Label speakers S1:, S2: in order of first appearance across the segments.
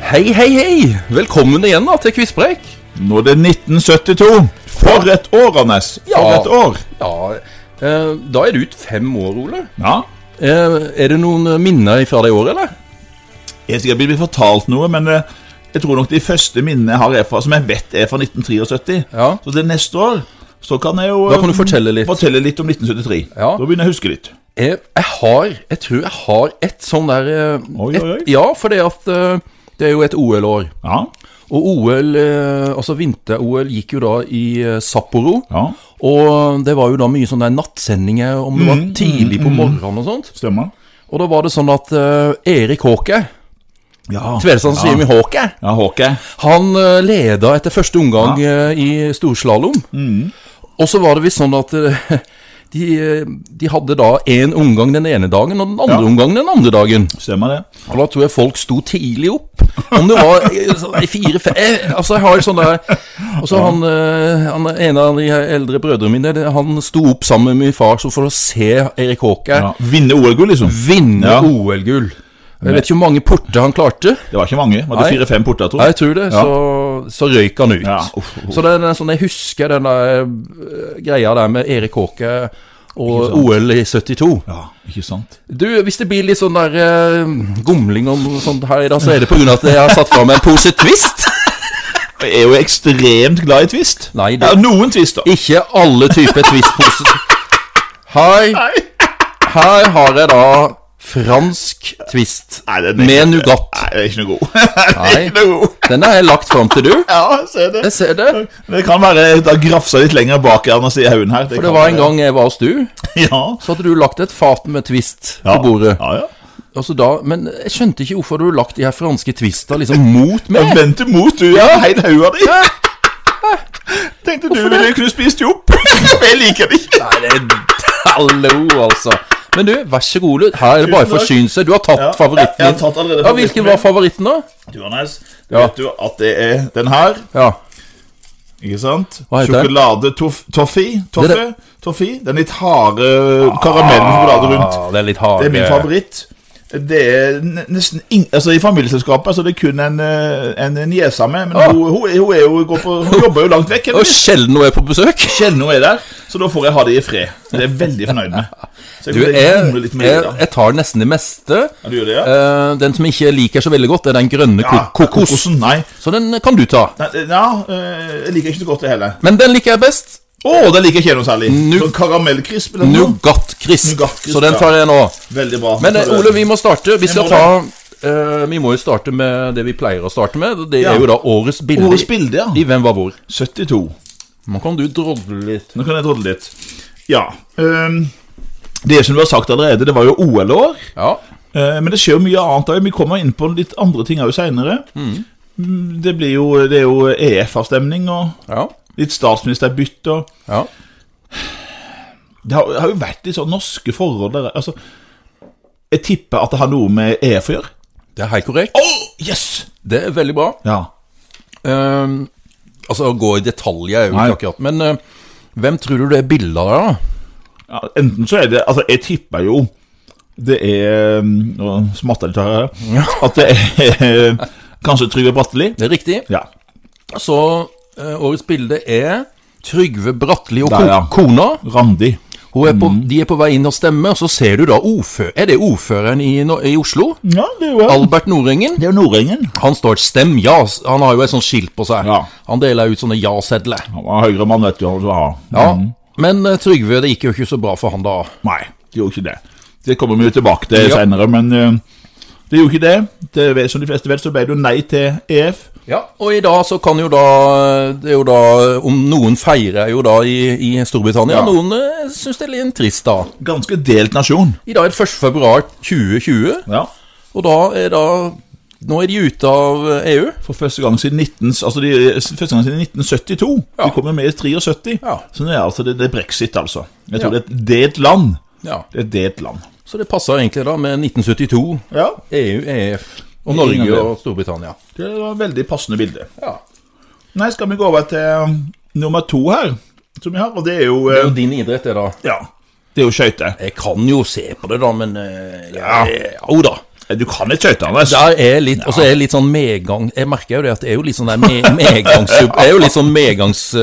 S1: Hei, hei, hei! Velkommen igjen da til Quizpreik.
S2: Nå er det 1972. For et år, Anders! For
S1: Ja.
S2: et år!
S1: Ja, eh, da er du ut fem år, Ole.
S2: Ja.
S1: Eh, er det noen eh, minner fra det året, eller?
S2: Jeg er sikkert blitt fortalt noe, men eh, jeg tror nok de første minnene jeg har er fra, som jeg vet er fra 1973.
S1: Ja.
S2: Så til neste år så kan jeg jo
S1: Da kan
S2: eh,
S1: du fortelle litt.
S2: fortelle litt om 1973.
S1: Ja.
S2: Da begynner jeg å huske litt.
S1: Jeg, Eh, jeg har Jeg tror jeg har et sånn der eh,
S2: Oi,
S1: et,
S2: oi, oi.
S1: Ja, for det at eh, det er jo et OL-år.
S2: Ja.
S1: Og OL, eh, altså vinter-OL, gikk jo da i eh, Sapporo.
S2: ja.
S1: Og det var jo da mye sånne nattsendinger om det var tidlig på morgenen og sånt.
S2: Stemmer.
S1: Og da var det sånn at eh, Erik Håke,
S2: Ja.
S1: Tvedestrand sier vi Håke,
S2: Ja, Håke.
S1: Han eh, leda etter første omgang eh, i storslalåm.
S2: Mm.
S1: Og så var det visst sånn at eh, de, eh, de hadde da én omgang den ene dagen og den andre
S2: Ja.
S1: omgangen den andre dagen.
S2: Stemmer det.
S1: Og da tror jeg folk sto tidlig opp. Om det var eh, sånn i fire fem eh, Altså, jeg har sånn der Og så han, eh, han en av de eldre brødrene mine, det- han sto opp sammen med min far så for å se Erik Håke
S2: Ja. Vinne OL-gull, liksom.
S1: Mm. vinne
S2: Ja.
S1: OL-gull. Jeg vet ikke hvor mange porter han klarte.
S2: Det var ikke mange. Var det
S1: Nei.
S2: fire-fem porter, tror
S1: Ja,
S2: jeg?
S1: jeg tror det.
S2: Ja.
S1: Så, så røyk han ut.
S2: Ja, uff, uff.
S1: Så det er den sånn, jeg husker den der eh, greia der med Erik Håke og OL i 72.
S2: Ja, ikke sant?
S1: Du, hvis det blir litt sånn der eh, gomling om sånt her i dag, så er det på grunn av at jeg har satt fram en pose Twist.
S2: Jeg er jo ekstremt glad i Twist.
S1: Nei, det-
S2: Ja, noen Twist, da.
S1: Ikke alle typer Twist-poser. Hei,
S2: Nei.
S1: her har jeg da fransk Twist
S2: Nei, den er
S1: med
S2: ikke-
S1: nougat.
S2: Nei, det er ikke noe god. det er
S1: Nei.
S2: ikke noe god.
S1: Den har jeg lagt fram til du.
S2: Ja, jeg ser det.
S1: Jeg ser det.
S2: Det kan være da grafsa litt lenger bak her enn å si haugen her.
S1: For det var en gang jeg var hos du,
S2: Ja.
S1: så hadde du lagt et fat med Twist
S2: ja.
S1: på bordet.
S2: Ja, ja.
S1: Altså da, men jeg skjønte ikke hvorfor du har lagt de her franske twista liksom mot meg.
S2: Vent imot, du. Ja. Helt hauga di. Tenkte du ville kunne spist jo opp. Jeg liker det ikke.
S1: Nei, det Hallo, altså. Men du, vær så god. Lund. Her er det bare
S2: Tusen takk.
S1: forsyne seg. Du har tatt
S2: Ja,
S1: favoritten.
S2: jeg har tatt allerede
S1: ja, Hvilken
S2: favoritten
S1: var favoritten, da?
S2: Du, Anders,
S1: Ja.
S2: vet du at det er den her.
S1: Ja.
S2: Ikke sant?
S1: Hva heter den?
S2: Sjokolade toff- toffee.
S1: Det
S2: Toffe?
S1: er
S2: Toffee? Den litt harde karamellen sjokolade rundt.
S1: Ah, det er litt hard.
S2: Det er min favoritt. Det er n- nesten ing, altså I familieselskapet så er det kun en, eh, en niese med, men
S1: Ah.
S2: hun, hun, hun, er jo, går på, hun jobber jo langt vekk.
S1: Og
S2: heldigvis.
S1: sjelden når jeg er på besøk.
S2: Sjelden hun er der, så da får jeg ha det i fred. Det er jeg veldig fornøyd med. Så jeg
S1: Du, jeg,
S2: kunne
S1: jeg,
S2: humle litt med det, da.
S1: jeg tar nesten det meste.
S2: Ja, du gjør det, ja?
S1: Eh, den som jeg ikke liker så veldig godt, er den grønne ko
S2: Ja,
S1: kokos.
S2: kokosen, Nei.
S1: Så den kan du ta.
S2: Nei, eh, Ja, eh, jeg liker ikke så godt det heller.
S1: Men den liker jeg best.
S2: Å, det liker jeg ikke noe særlig.
S1: Nu-
S2: Sånn karamellkrisp eller noe.
S1: Nougat-crisp.
S2: Nougat-crisp,
S1: Så den
S2: ja.
S1: tar jeg nå.
S2: Veldig bra.
S1: Men eh, Ole, vi må starte. Vi skal
S2: må
S1: ta eh, Vi må jo starte med det vi pleier å starte med. Det
S2: Ja.
S1: er jo da årets bilde,
S2: Årets bilde, ja.
S1: i Hvem var hvor.
S2: 72.
S1: Nå kan du drodle litt.
S2: Nå kan jeg drodle litt. Ja. ehm, det som du har sagt allerede, det var jo OL-år.
S1: Ja.
S2: Eh, Men det skjer jo mye annet òg. Vi kommer inn på litt andre ting òg seinere.
S1: Mm.
S2: Det, blir jo- det er jo EF-avstemning og
S1: Ja.
S2: litt statsministerbytte. og
S1: ja.
S2: Det har, har jo vært litt sånn norske forhold der. Altså, jeg tipper at det har noe med EF å gjøre.
S1: Det er helt korrekt.
S2: Oh, yes!
S1: Det er veldig bra.
S2: Ja.
S1: Ehm, altså, å gå i detalj er jo
S2: Nei.
S1: ikke akkurat Men eh, hvem tror du det er bilde av der, da?
S2: ja. Enten så er det Altså, jeg tipper jo det er um, Nå smatter jeg litt her. At det er kanskje Trygve Bratteli.
S1: Det er riktig.
S2: Ja.
S1: Så eh, årets bilde er Trygve Bratteli og ko
S2: Der, ja.
S1: kona.
S2: Randi.
S1: Hun er på, De er på vei inn og stemmer, og så ser du da ordfø Er det ordføreren i, Nor- i Oslo?
S2: Ja, det er jo
S1: Albert Nordengen.
S2: Det er jo Nordengen.
S1: Han står 'stem ja'. Han har jo et sånt skilt på seg.
S2: Ja.
S1: Han deler ut sånne ja-sedler.
S2: Han var høyre mann, vet du. han var-
S1: Ja. Men eh, Trygve, det gikk jo ikke så bra for han da.
S2: Nei, det gjorde ikke det. Det kommer vi jo tilbake til
S1: Ja.
S2: senere, men eh, det gjorde ikke det. det. vet- Som de fleste vet, så ble det jo nei til E EF.
S1: Ja, Og i dag så kan jo da Det er jo da Om noen feirer jo da i, i Storbritannia,
S2: Ja.
S1: noen eh, syns det er litt trist, da.
S2: Ganske delt nasjon.
S1: I dag er det 1. februar 2020,
S2: Ja.
S1: og da er da Nå er de ute av eh, EU.
S2: For første gang siden, 19, altså de, første gang siden 1972.
S1: Ja.
S2: De kom jo med i 73.
S1: Ja.
S2: Så nå er altså det, det er brexit, altså. Jeg tror
S1: Ja.
S2: det er et delt land.
S1: Ja.
S2: Det er et delt land.
S1: Så det passer egentlig da med 1972,
S2: Ja.
S1: EU, EF E og
S2: Ingen
S1: Norge
S2: av det.
S1: og Storbritannia.
S2: Det var et veldig passende bilde.
S1: Ja.
S2: Nei, skal vi gå over til eh, nummer to her, som vi har, og det er jo
S1: Det er
S2: eh,
S1: jo din idrett, det, da.
S2: Ja. Det er jo skøyter.
S1: Jeg kan jo se på det, da, men eh, ja,
S2: Ja.
S1: eh, Jo da.
S2: Du kan litt skøytene.
S1: Det er litt, og så er det litt sånn medgang Jeg merker jo det at det er jo litt sånn der me, medgangs, Jeg er jo litt sånn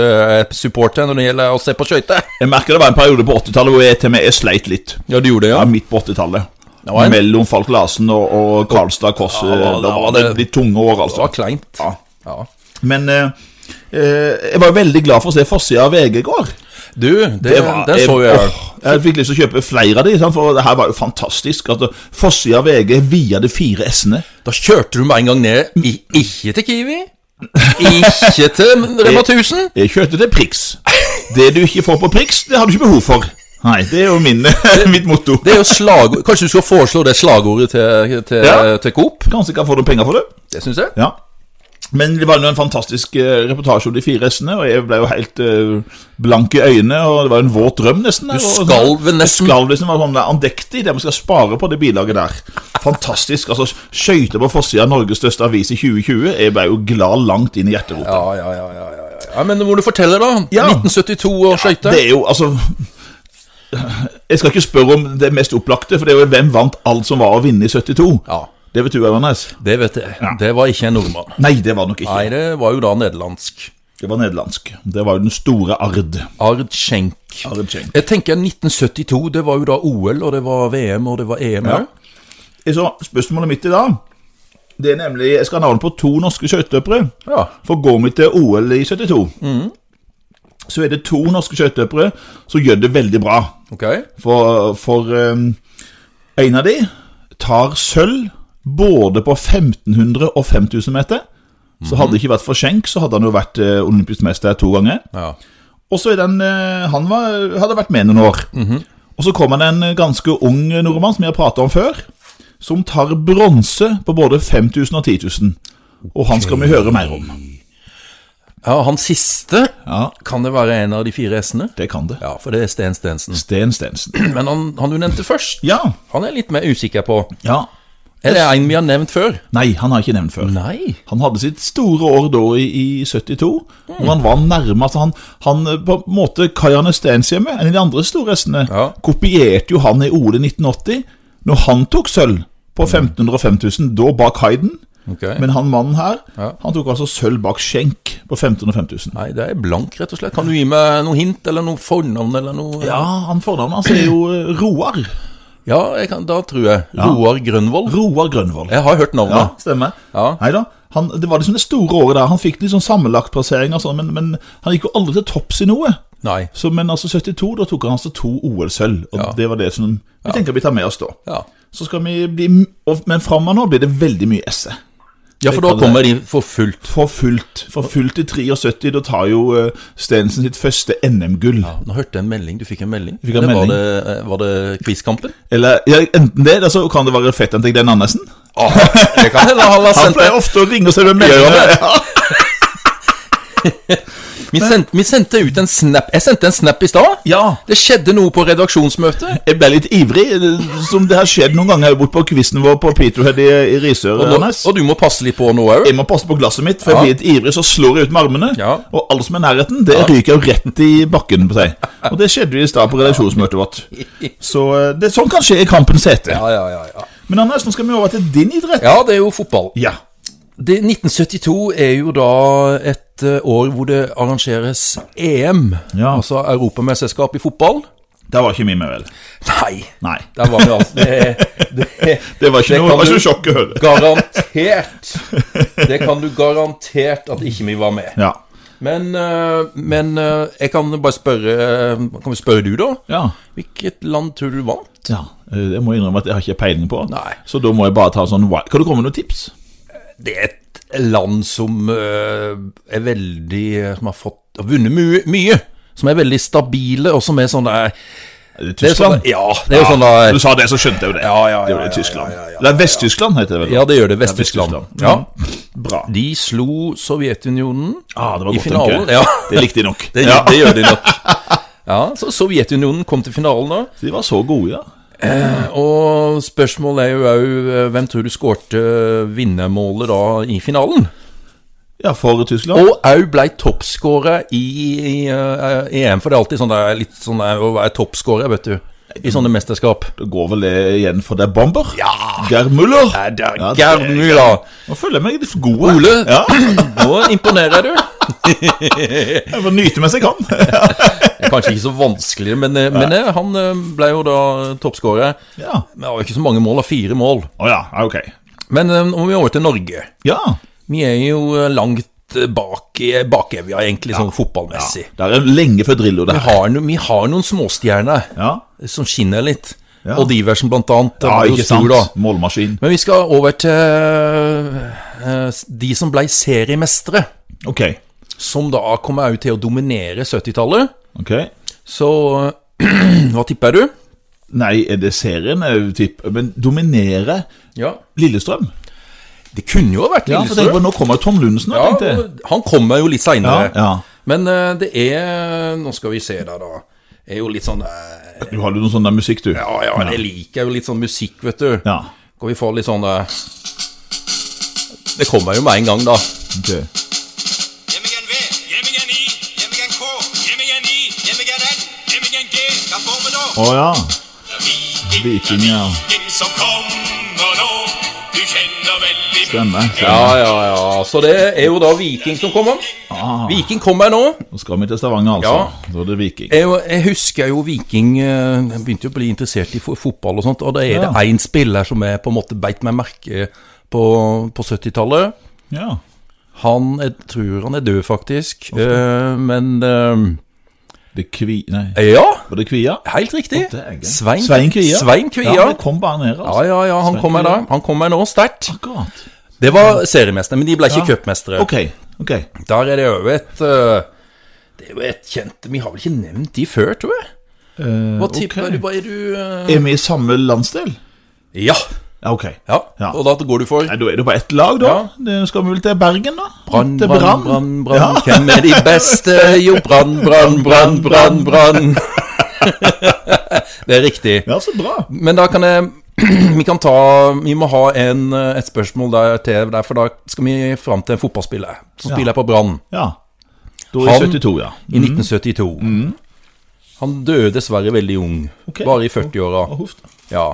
S1: medgangssupporter når det gjelder å se på skøyter.
S2: Jeg merker det var en periode på 80-tallet hvor jeg til og med jeg sleit litt.
S1: Ja, du gjorde det,
S2: Ja, midt på 80-tallet.
S1: Det var en-
S2: Mellom Falk Larsen og, og Karlstad Koss.
S1: Ja, det
S2: da
S1: var-
S2: var
S1: det-
S2: det de tunge år,
S1: Det
S2: altså.
S1: var kleint.
S2: Ja.
S1: Ja.
S2: Men eh, eh, jeg var veldig glad for å se forsida av VG i går.
S1: Du, det, den
S2: jeg-
S1: så jeg.
S2: åh, jeg fikk lyst til å kjøpe flere av de, sant, for det her var jo fantastisk. At forsida av VG via de fire S-ene.
S1: Da kjørte du med en gang ned. I, ikke til Kiwi. Ikke til Rema 1000.
S2: Jeg kjøpte til Prix. Det du ikke får på Prix, det har du ikke behov for. Nei, det er jo min, mitt motto.
S1: Det er jo slagord Kanskje du skal foreslå det slagordet til, til,
S2: Ja.
S1: til Coop?
S2: Kanskje jeg kan få noen penger for det.
S1: Det syns jeg.
S2: Ja. Men det var jo en fantastisk eh, reportasje om de fire S-ene, og jeg ble jo helt eh, blank i øynene, og det var jo en våt drøm, nesten.
S1: Du
S2: der, og-
S1: skalv vel nesten.
S2: Skalv liksom var sånn der andektig, det vi skal spare på det bilaget der. Fantastisk. altså Skøyter på forsida av Norges største avis i 2020. Jeg ble jo glad langt inn i hjerterota.
S1: Ja, ja, ja, ja, ja, ja. ja. Men må du fortelle, da?
S2: Ja.
S1: 1972 og skøyter.
S2: Det er jo, altså Jeg skal ikke spørre om det mest opplagte, for det er jo hvem vant alt som var å vinne i 72.
S1: Ja,
S2: Det vet du, Øvernes.
S1: det vet jeg. Det var ikke en nordmann.
S2: Nei, det var nok ikke.
S1: Nei, det var jo da nederlandsk.
S2: Det var nederlandsk. Det var jo den store Ard.
S1: Ard Schenk.
S2: Ard Schenk.
S1: Jeg tenker 1972, det var jo da OL, og det var VM, og det var E EM òg.
S2: Så spørsmålet mitt i dag Det er nemlig Jeg skal ha navn på to norske skøyteløpere.
S1: Ja.
S2: For går vi til OL i 72, så er det to norske skøyteløpere som gjør det veldig bra.
S1: Ok.
S2: For, for um, en av de tar sølv både på 1500 og 5000 meter. Så hadde det ikke vært for Schenk, så hadde han jo vært eh, olympisk mester to ganger.
S1: Ja.
S2: Og så er den, eh, han var, hadde vært med noen år. Og så kommer det en eh, ganske ung nordmann som jeg har pratet om før, som tar bronse på både 5000 og 10 000. Og han skal vi høre mer om.
S1: ja, han siste
S2: Ja,
S1: Kan det være en av de fire S-ene?
S2: det kan det.
S1: Ja, for det er Sten Stensen.
S2: Sten Stensen.
S1: Men han, han du nevnte først,
S2: Ja,
S1: han er jeg litt mer usikker på.
S2: ja.
S1: Er det en vi har nevnt før?
S2: Nei, han har jeg ikke nevnt før.
S1: Nei.
S2: Han hadde sitt store år da i, i 72,
S1: Mm.
S2: og han var nærme altså han, han eh, på en måte Kajane Stenshjemme, en av de andre store hestene,
S1: Ja.
S2: kopierte jo han i OL i 1980. Når han tok sølv
S1: Mm.
S2: på 1500 og 5000, da bak Hayden.
S1: Ok.
S2: Men han mannen her,
S1: Ja.
S2: han tok altså sølv bak Skjenk på 1500 og 5000.
S1: Nei, det er blank, rett og slett. Kan du gi meg noe hint, eller noe fornavn, eller noe
S2: Ja, han fornavnet hans er jo eh, Roar.
S1: Ja, jeg kan, da tror jeg. Roar Grønvoll.
S2: Roar Grønvold.
S1: Jeg har hørt
S2: Ja,
S1: navnet.
S2: stemmer.
S1: Ja.
S2: Neida, Han, det var liksom det store året der. Han fikk litt sånn sammenlagtplassering, og sånn, men, men han gikk jo aldri til topps i noe.
S1: Nei.
S2: Så, men altså 72, da tok han altså to OL-sølv, og
S1: Ja.
S2: det var det som vi tenker vi tar med oss da.
S1: Ja.
S2: Så skal vi bli, og, men framover nå blir det veldig mye esse.
S1: ja, for da kommer
S2: eh,
S1: de for fullt.
S2: For fullt, for fullt i 73, da tar jo eh, Stensen sitt første NM-gull.
S1: Ja, nå hørte jeg en melding. Du fikk en melding.
S2: fikk en
S1: det,
S2: melding.
S1: Var det, eh, var det Quizkampen?
S2: Eller ja, enten det, eller så kan det være fetteren til Glenn Andersen.
S1: det kan hende han har
S2: Han
S1: sendt
S2: pleier ofte å ringe og sende meldinger.
S1: Gjør han det?
S2: Ja.
S1: vi, sendte, vi sendte ut en snap. Jeg sendte en snap i stad.
S2: ja,
S1: Det skjedde noe på redaksjonsmøtet.
S2: jeg ble litt ivrig, eh, som det har skjedd noen ganger bort på quizen vår på Peterhead i, i Risør.
S1: Og,
S2: Ernest.
S1: og du må passe litt på nå òg.
S2: Jeg må passe på glasset mitt, for
S1: Ja.
S2: jeg blir litt ivrig, så slår jeg ut med armene.
S1: Ja.
S2: Og alle som er i nærheten, det ryker jo rett i bakken på seg. Og det skjedde jo i stad på redaksjonsmøtet vårt. Så eh, det, sånn kan skje i kampens hete.
S1: Ja, ja, ja, ja.
S2: Men Anders, nå skal vi over til din idrett.
S1: ja, det er jo fotball.
S2: Ja.
S1: Det, 1972 er jo da et eh, år hvor det arrangeres EM,
S2: Ja.
S1: altså europamesterskap i fotball.
S2: Der var ikke vi med, vel?
S1: Nei,
S2: Nei.
S1: der var vi altså. Det, det,
S2: Det var ikke
S1: Det
S2: noe,
S1: kan
S2: det var
S1: du-
S2: ikke noe sjokk å høre.
S1: garantert. Det kan du garantert at ikke vi var med.
S2: Ja.
S1: Men, eh, men eh, jeg kan bare spørre eh, Kan vi spørre du, da?
S2: Ja.
S1: Hvilket land tror du vant?
S2: ja. Eh, Det må jeg innrømme at jeg har ikke peiling på.
S1: Nei.
S2: Så da må jeg bare ta en sånn wild. Kan du komme med noen tips?
S1: Det er et land som eh, er veldig eh, Som har fått har vunnet mye, mye. Som er veldig stabile, og som er sånn der
S2: Er det
S1: Det er sånn,
S2: Tyskland?
S1: ja, det er jo sånn der
S2: Du sa det, så skjønte jeg jo det.
S1: Ja, ja, ja,
S2: Det er jo det
S1: ja,
S2: Tyskland.
S1: ja, ja, ja,
S2: Eller Vest-Tyskland heter det vel?
S1: Ja, det gjør det. Vest-Tyskland. Mm.
S2: Vest-Tyskland.
S1: Ja.
S2: Bra.
S1: De slo Sovjetunionen
S2: Ah, det var
S1: i
S2: godt,
S1: finalen.
S2: tenker jeg.
S1: Ja,
S2: Det likte de nok.
S1: det,
S2: ja.
S1: det gjør de nok. Ja, så Sovjetunionen kom til finalen da.
S2: De var så gode, ja.
S1: Og spørsmålet er jo òg eh, hvem tror du skårte vinnermålet da i finalen?
S2: Ja, for Tyskland.
S1: Og òg ble E toppskårer i, i eh, EM, for det er alltid sånn der, litt sånn der å være toppskårer, vet du. i sånne mesterskap.
S2: Det går vel det igjen for det er Bomber? Ja! Geir Muller? Ja, det-
S1: Gernula!
S2: Nå føler jeg meg litt god. jeg.
S1: Ole,
S2: Ja,
S1: nå imponerer du.
S2: jeg får nyte mens jeg kan.
S1: Det er Kanskje ikke så vanskelig, men, eh, men eh, han eh, ble jo da toppskårer.
S2: Ja.
S1: Men det var jo ikke så mange mål, da. Fire mål.
S2: Å ja, ja, ok.
S1: Men eh, om vi over til Norge.
S2: Ja.
S1: Vi er jo eh, langt eh, bak i bakevja, egentlig, sånn fotballmessig.
S2: Det er lenge før Drillo, det
S1: Vi,
S2: her.
S1: har no, vi har noen småstjerner eh,
S2: Ja.
S1: som skinner litt.
S2: Ja.
S1: Odd Iversen, blant annet. Den
S2: ja,
S1: var jo
S2: ikke
S1: stor,
S2: sant.
S1: da.
S2: Målmaskin.
S1: Men vi skal over til eh, eh, de som ble seriemestere,
S2: Ok.
S1: som da kommer ut til å dominere 70-tallet.
S2: ok.
S1: Så eh, hva tipper du?
S2: Nei, er det serien? eh, Typ, men dominerer
S1: Ja.
S2: Lillestrøm?
S1: Det kunne jo ha vært
S2: Ja, for tenk på,
S1: Lillestrøm.
S2: Nå kommer jo Tom Lundsen, da,
S1: Ja,
S2: tenkte jeg.
S1: og han kommer jo litt
S2: Ja,
S1: seinere.
S2: ja.
S1: Men eh, det er Nå skal vi se der, da. Er jo litt sånn eh,
S2: Du har jo noe sånn der musikk, du.
S1: Ja, ja, jeg liker jo litt sånn musikk, vet du.
S2: Ja.
S1: Skal vi få litt sånn eh, Det kommer jo med en gang, da.
S2: ok.
S3: Hjem igjen V, hjem igjen I, hjem igjen K, hjem igjen I, hjem igjen N, hjem igjen G. Hva får vi da?
S2: Å ja.
S3: Det er
S2: Viking,
S3: Viking,
S2: ja.
S3: Viking som kommer nå. Du kjenner veldig
S2: Stemmer.
S1: Ja, ja, ja. Så det er jo da Viking som kommer.
S2: Ah,
S1: Viking kommer nå.
S2: nå skal vi til Stavanger, altså.
S1: Ja. Eh.
S2: Da er det Viking.
S1: Jeg, jeg husker jo Viking eh, jeg begynte jo å bli interessert i fo- fotball og sånt, og da er
S2: Ja.
S1: det én spiller som jeg på en måte beit meg merke på, på 70-tallet.
S2: Ja.
S1: Han Jeg tror han er død, faktisk. Eh, men
S2: Det kvi... Nei,
S1: eh, Ja,
S2: var det Kvia?
S1: helt riktig.
S2: Dægen.
S1: Svein,
S2: Svein Kvia.
S1: Svein Kvia.
S2: Ja,
S1: Ja,
S2: det kom bare ned, altså.
S1: ja, ja, han
S2: Svein
S1: kommer
S2: Kvia.
S1: da. Han kommer nå sterkt.
S2: Akkurat.
S1: Det var seriemester, men de ble ikke
S2: Ja.
S1: cupmestere.
S2: Ok, ok.
S1: Der er det jo et eh, Det er jo et kjent Vi har vel ikke nevnt de før, tror jeg. Hva
S2: ok.
S1: tipper du? Hva er du eh,
S2: Er vi i samme landsdel?
S1: Ja.
S2: Ja, ok.
S1: Ja,
S2: Ja.
S1: og da går du for
S2: Nei, da er det bare ett lag, da.
S1: Ja.
S2: Det skal vi vel til Bergen, da?
S1: Brann,
S2: til
S1: brann, brann, brann.
S2: Ja.
S1: Hvem er de beste? Jo, brann, brann, brann, brann, brann. Det er riktig.
S2: Ja, så bra.
S1: Men da kan jeg Vi kan ta Vi må ha en, eh, et spørsmål der til, der, for da skal vi fram til en fotballspiller som
S2: Ja. Mm.
S1: spiller på Brann
S2: Ja. Da er
S1: Han-
S2: 72, ja.
S1: i 1972. Han døde dessverre veldig ung,
S2: Mm. Ok.
S1: bare i 40-åra.
S2: Å, huff da.
S1: Ja.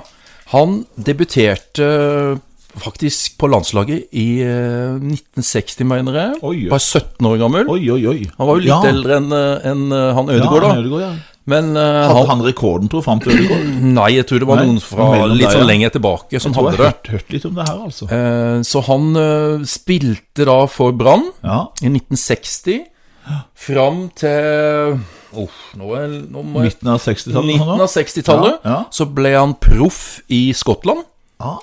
S1: Han debuterte eh, faktisk på landslaget i eh, 1960, mener jeg.
S2: Oi, ja.
S1: Var 17 år gammel.
S2: Oi, oi, oi.
S1: Han var jo litt
S2: ja.
S1: eldre enn eh, enn, eh, han
S2: Ja,
S1: Ødegaard, da.
S2: Ødegaard, ja.
S1: Men eh, han,
S2: Hadde han rekorden, tror jeg, fram til Ødegaard?
S1: Nei, jeg tror det var
S2: Nei,
S1: noen fra
S2: mellom
S1: litt
S2: der,
S1: sånn
S2: ja.
S1: lenger tilbake som
S2: Jeg tror
S1: hadde
S2: jeg
S1: det.
S2: har hørt, hørt litt om det her, altså.
S1: Eh, Så han eh, spilte da for Brann
S2: Ja.
S1: i 1960 fram til Uff, nå, er, nå må jeg
S2: Midten av 60-tallet? han da?
S1: 1960-tallet.
S2: Ja, ja.
S1: Så ble han proff i Skottland.
S2: Ah,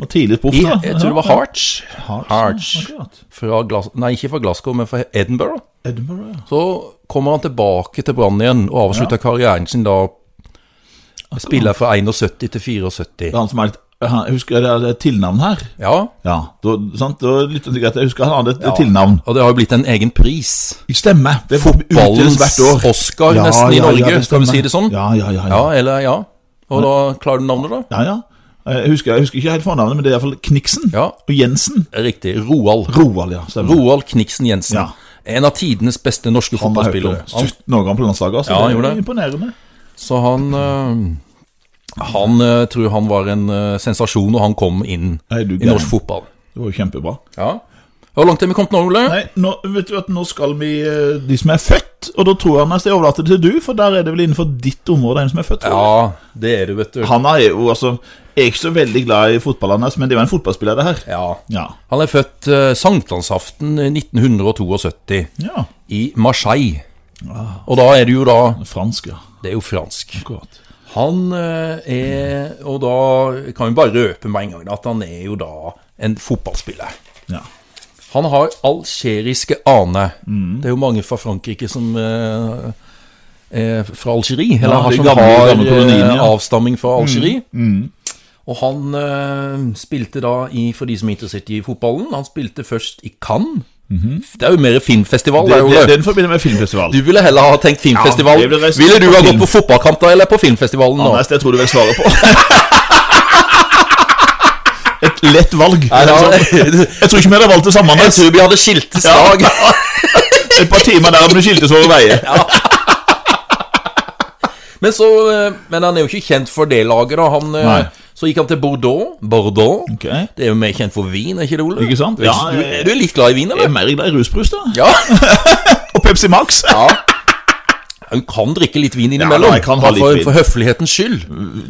S2: var tidlig proff,
S1: I,
S2: da.
S1: jeg tror det var
S2: Ja,
S1: Harts.
S2: Hearts.
S1: Hearts.
S2: ja, akkurat.
S1: Fra Glas nei, ikke fra Glasgow, men fra Edinburgh.
S2: Edinburgh, ja.
S1: Så kommer han tilbake til Brann igjen og avslutter karrieren sin da Spiller fra 71 til 74.
S2: Det er han som er litt han, Jeg husker det er et tilnavn her.
S1: Ja,
S2: Ja, da, sant? Da, er det litt, usikkert. jeg husker han hadde et et tilnavn.
S1: og det har jo blitt en egen pris.
S2: Stemmer. Det
S1: Ballens
S2: utdeles hvert år.
S1: Oscar nesten i Norge, skal vi si det sånn?
S2: Ja, ja, ja.
S1: Ja,
S2: ja.
S1: eller ja. Og da klarer du navnet, da?
S2: ja, ja. Jeg, husker, jeg husker ikke helt fornavnet, men det er iallfall Kniksen.
S1: Ja.
S2: Og Jensen.
S1: Riktig. Roald.
S2: Roald, ja. Stemmer.
S1: Roald Kniksen Jensen.
S2: Ja.
S1: En av tidenes beste norske
S2: Han var høyt
S1: fotballspillere.
S2: oppe.
S1: Han-
S2: 17 år gammel på landslaget, altså.
S1: Ja, han
S2: det
S1: gjorde
S2: er
S1: det.
S2: imponerende.
S1: Så han eh, Han eh, tror han var en eh, sensasjon når han kom inn
S2: Nei, du,
S1: i norsk
S2: gæren.
S1: fotball.
S2: det var jo kjempebra.
S1: Ja. Hvor langt er vi kommet nå, Ole?
S2: Nei, nå, vet du at nå skal vi eh, De som er født, og da tror jeg mest jeg overlater det til du, for der er det vel innenfor ditt område en som er født. tror jeg.
S1: Ja, det er du, vet du.
S2: Han er jo altså Jeg er ikke så veldig glad i fotball, Anders, men det er jo en fotballspiller, det her.
S1: Ja.
S2: Ja.
S1: Han er født eh, sankthansaften eh, 1972
S2: ja.
S1: i Marseille.
S2: Ah.
S1: Og da er det jo da
S2: Fransk, ja.
S1: Det er jo fransk.
S2: Akkurat.
S1: Han eh, er Og da kan vi bare røpe med en gang at han er jo da en fotballspiller.
S2: Ja.
S1: Han har algeriske ane.
S2: Mm.
S1: Det er jo mange fra Frankrike som eh, er fra Algerie. Eller
S2: Ja,
S1: har
S2: de
S1: som
S2: gamle-
S1: har
S2: gamle koloniene,
S1: eh,
S2: ja. Mm.
S1: avstamming fra Algerie. Og han eh, spilte da i, for de som er interessert i fotballen, han spilte først i Cannes. Det er jo mer filmfestival.
S2: Mhm. Det,
S1: Det, er jo
S2: det,
S1: det.
S2: den forbinder med filmfestival.
S1: Du ville heller ha tenkt filmfestival.
S2: det ville reist
S1: ville du
S2: på
S1: ha
S2: film.
S1: gått på fotballkamp da, eller på filmfestivalen nå?
S2: Anders, det tror du vel svaret på. Et lett valg.
S1: da-
S2: Jeg tror ikke vi hadde valgt det samme,
S1: Jeg
S2: Anders.
S1: tror vi hadde skiltes lag.
S2: Et par timer der hadde vi skiltes våre veier.
S1: Men, så, eh, men han er jo ikke kjent for det laget, da. Han, eh,
S2: Nei.
S1: så gikk han til Bordeaux. Bordeaux.
S2: Ok.
S1: Det er jo mer kjent for vin, er ikke det, Ole?
S2: Ikke sant?
S1: Ja,
S2: Ja,
S1: du,
S2: jeg-
S1: du er litt glad i vin,
S2: Jeg
S1: eller?
S2: er mer glad i rusbrus, da.
S1: Ja.
S2: Og Pepsi Max.
S1: ja. Du kan drikke litt vin innimellom.
S2: Ja, jeg kan ha
S1: bare
S2: litt
S1: for,
S2: vin. Mm.
S1: for høflighetens skyld.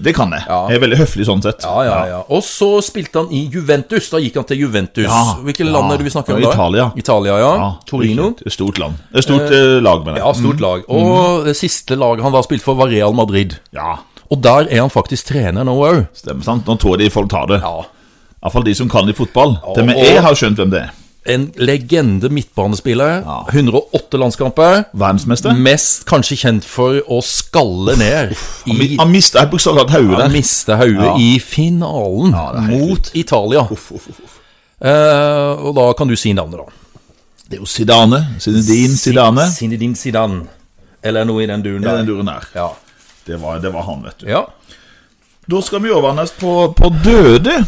S2: Det kan jeg.
S1: Ja.
S2: Jeg er veldig høflig sånn sett.
S1: Ja, ja, ja. Og så spilte han i Juventus. Da gikk han til Juventus.
S2: Ja,
S1: Hvilket
S2: ja.
S1: land er det vi snakker om
S2: Ja,
S1: da?
S2: Italia.
S1: Italia, ja.
S2: Ja,
S1: Torino.
S2: Det er et stort land. Det er et stort eh, lag, mener
S1: Ja,
S2: jeg.
S1: stort lag.
S2: Mm.
S1: Og det siste laget han da spilte for, var Real Madrid.
S2: Ja,
S1: Og der er han faktisk trener nå òg.
S2: stemmer sant. Nå tror jeg de folk tar det.
S1: Ja.
S2: Iallfall de som kan litt fotball.
S1: Ja,
S2: Til og med
S1: og-
S2: jeg har skjønt hvem det er.
S1: En legende midtbanespiller.
S2: Ja.
S1: 108 landskamper.
S2: Verdensmester.
S1: Mest kanskje kjent for å skalle ned i
S2: Han mista et bokstavelig talt hodet
S1: Han
S2: der.
S1: miste hodet
S2: Ja.
S1: i finalen
S2: Ja, det er helt
S1: mot Italia. Eh, og da kan du si navnet, da.
S2: Det er jo Zidane. Zinedine Zidane.
S1: Zinedine Zidane. Eller noe i den duren
S2: Det er
S1: der.
S2: den duren der.
S1: Ja.
S2: Det var, det var han, vet du.
S1: ja.
S2: Da skal vi over Anders, på, på døde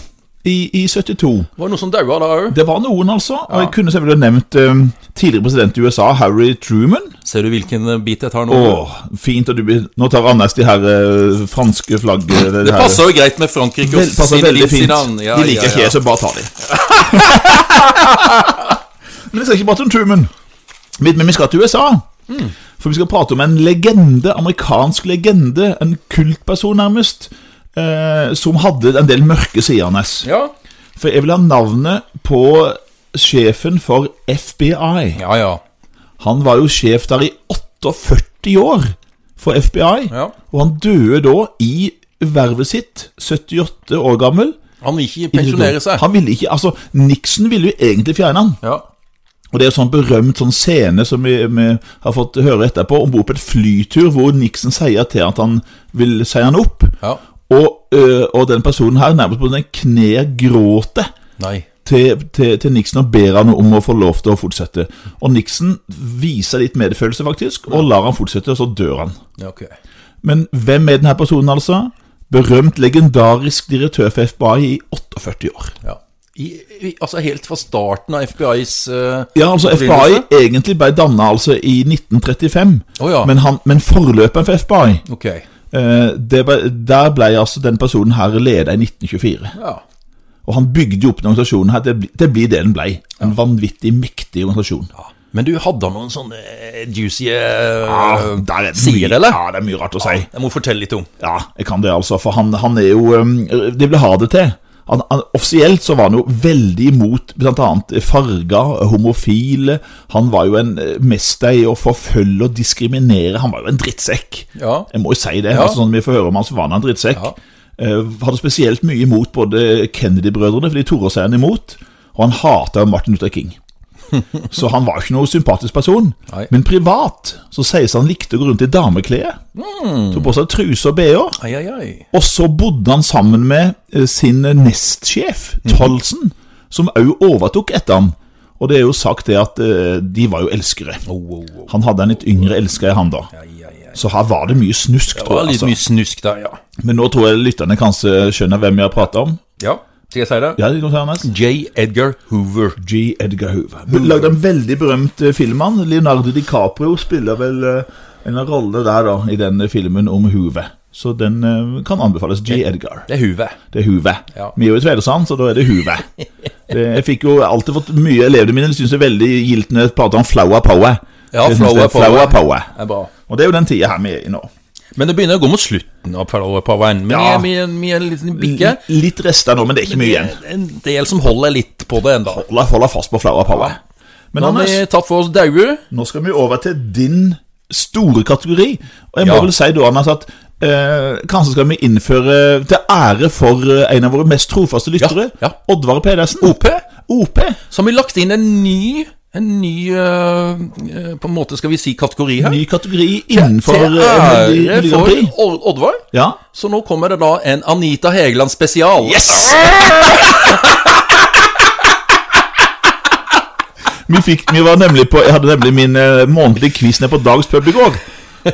S2: i, i 72.
S1: Var det noen som daua da òg?
S2: Det var noen, altså. Og jeg kunne selvfølgelig nevnt um, tidligere president i USA, Harry Truman.
S1: Ser du hvilken eh, bit jeg tar nå?
S2: Åh, fint at du blir Nå tar Anders de her eh, franske flagget
S1: Det passer jo greit med Frankrike og
S2: Vel, passer
S1: Zinedine
S2: veldig fint.
S1: Zidane. Ja,
S2: de liker
S1: ja,
S2: ikke
S1: ja.
S2: jeg, så bare ta de. Men vi skal ikke prate om Truman. Men men vi skal til USA.
S1: Hmm.
S2: For vi skal prate om en legende, amerikansk legende, en kultperson nærmest, eh, som hadde en del mørke sider hans.
S1: Ja.
S2: For jeg vil ha navnet på sjefen for FBI.
S1: ja, ja.
S2: Han var jo sjef der i 48 år for FBI,
S1: Ja.
S2: og han døde da i vervet sitt, 78 år gammel.
S1: Han vil ikke pensjonere seg.
S2: Han ville ikke, altså Nixon ville jo egentlig fjerne han.
S1: Ja.
S2: Og det er en sånn berømt sånn scene som vi, vi har fått høre etterpå, om bord på et flytur, hvor Nixon sier til at han vil si han opp.
S1: ja.
S2: Og, øh, og den personen her nærmest på den knær gråter
S1: Nei.
S2: til, til, til Nixon og ber han om å få lov til å fortsette. Og Nixon viser litt medfølelse, faktisk, og lar han fortsette, og så dør han.
S1: Ja, ok.
S2: Men hvem er denne personen, altså? Berømt, legendarisk direktør for FBI i 48 år.
S1: Ja. I, i, altså helt fra starten av FBIs eh,
S2: Ja, altså FBI egentlig ble danna altså i 1935,
S1: Å ja.
S2: men, han, men forløperen for FBI
S1: Ok.
S2: eh, det ble, Der ble altså den personen her leda i 1924.
S1: Ja.
S2: Og han bygde jo opp den organisasjonen her. Det, bli- det blir det den blei. En vanvittig mektig organisasjon.
S1: ja. Men du hadde noen sånne eh, juicy eh,
S2: Ja, der er Ah, det
S1: sider,
S2: mye,
S1: eller?
S2: Ja, det er mye rart å si.
S1: Jeg må fortelle litt om.
S2: Ja, jeg kan det altså, for han, han er jo um, De vil ha det til. Han, han, offisielt så var han jo veldig imot bl.a. farger, homofile Han var jo en eh, mester i å forfølge og diskriminere. Han var jo en drittsekk.
S1: Ja.
S2: Jeg må jo si det.
S1: Ja.
S2: Altså, sånn vi får høre om han, så var han en drittsekk.
S1: Ja.
S2: Eh, hadde spesielt mye imot både Kennedy-brødrene, for de torde å si han imot. Og han hata jo Martin Luther King. Så han var ikke noe sympatisk person.
S1: Nei.
S2: Men privat så sies han likte å gå rundt i dameklær.
S1: Hmm.
S2: Tok på seg truse og bh.
S1: Ai, ai, ai.
S2: Og så bodde han sammen med eh, sin nestsjef,
S1: Mhm.
S2: Tolsen, som òg overtok etter han. Og det er jo sagt det at eh, de var jo elskere.
S1: Oh, oh, oh.
S2: Han hadde en litt yngre elsker i han da.
S1: Ai, ai, ai.
S2: Så her var det mye snusk,
S1: Det
S2: tror
S1: var
S2: jeg.
S1: litt
S2: Altså.
S1: mye snusk der, ja.
S2: Men nå tror jeg lytterne kanskje skjønner hvem vi har prata om.
S1: Ja, Skal jeg si det?
S2: Ja, det kan du si, Anders.
S1: J. Edgar Hoover.
S2: G. Edgar Hoover. Lagde en veldig berømt eh, film. han. Leonardo DiCaprio spiller vel eh, en rolle der da, i den eh, filmen om Hoover. Så den eh, kan anbefales. G. Edgar.
S1: Det er Hoover.
S2: Det er Hoover.
S1: Ja.
S2: Vi er jo i Tvedestrand, så da er det Hoover. Det, jeg fikk jo alltid fått mye Elevene mine syns det er veldig gildt når jeg prater om flower power.
S1: Ja,
S2: Jeg synes det er
S1: flower power.
S2: flower power.
S1: Det er bra.
S2: Og det er jo den tida her vi er i nå.
S1: Men det begynner å gå mot slutten av Power Power-veien. Men
S2: Ja.
S1: vi, er- vi er en liten bikke.
S2: L- Litt rester nå, men det er ikke mye igjen.
S1: En del som holder litt på det enda.
S2: La oss holde fast på flower power. Men
S1: Nå har
S2: Anders,
S1: vi tatt for oss daue.
S2: nå skal vi over til din store kategori. Og jeg må
S1: Ja.
S2: vel si da, Anders, at eh, kanskje skal vi innføre til ære for eh, en av våre mest trofaste lyttere,
S1: ja.
S2: Oddvar Pedersen. OP. OP.
S1: Så har vi lagt inn en ny En ny øh, øh, På en måte skal vi si kategori her.
S2: Ny kategori innenfor eh,
S1: Til
S2: Melodi
S1: ære
S2: Melodi Grand
S1: for
S2: Prix.
S1: Odd- Oddvar.
S2: Ja.
S1: Så nå kommer det da en Anita Hegeland spesial.
S2: Yes! vi, fikk, vi var nemlig på Jeg hadde nemlig min eh, månedlige quiz nede på Dags pub i går.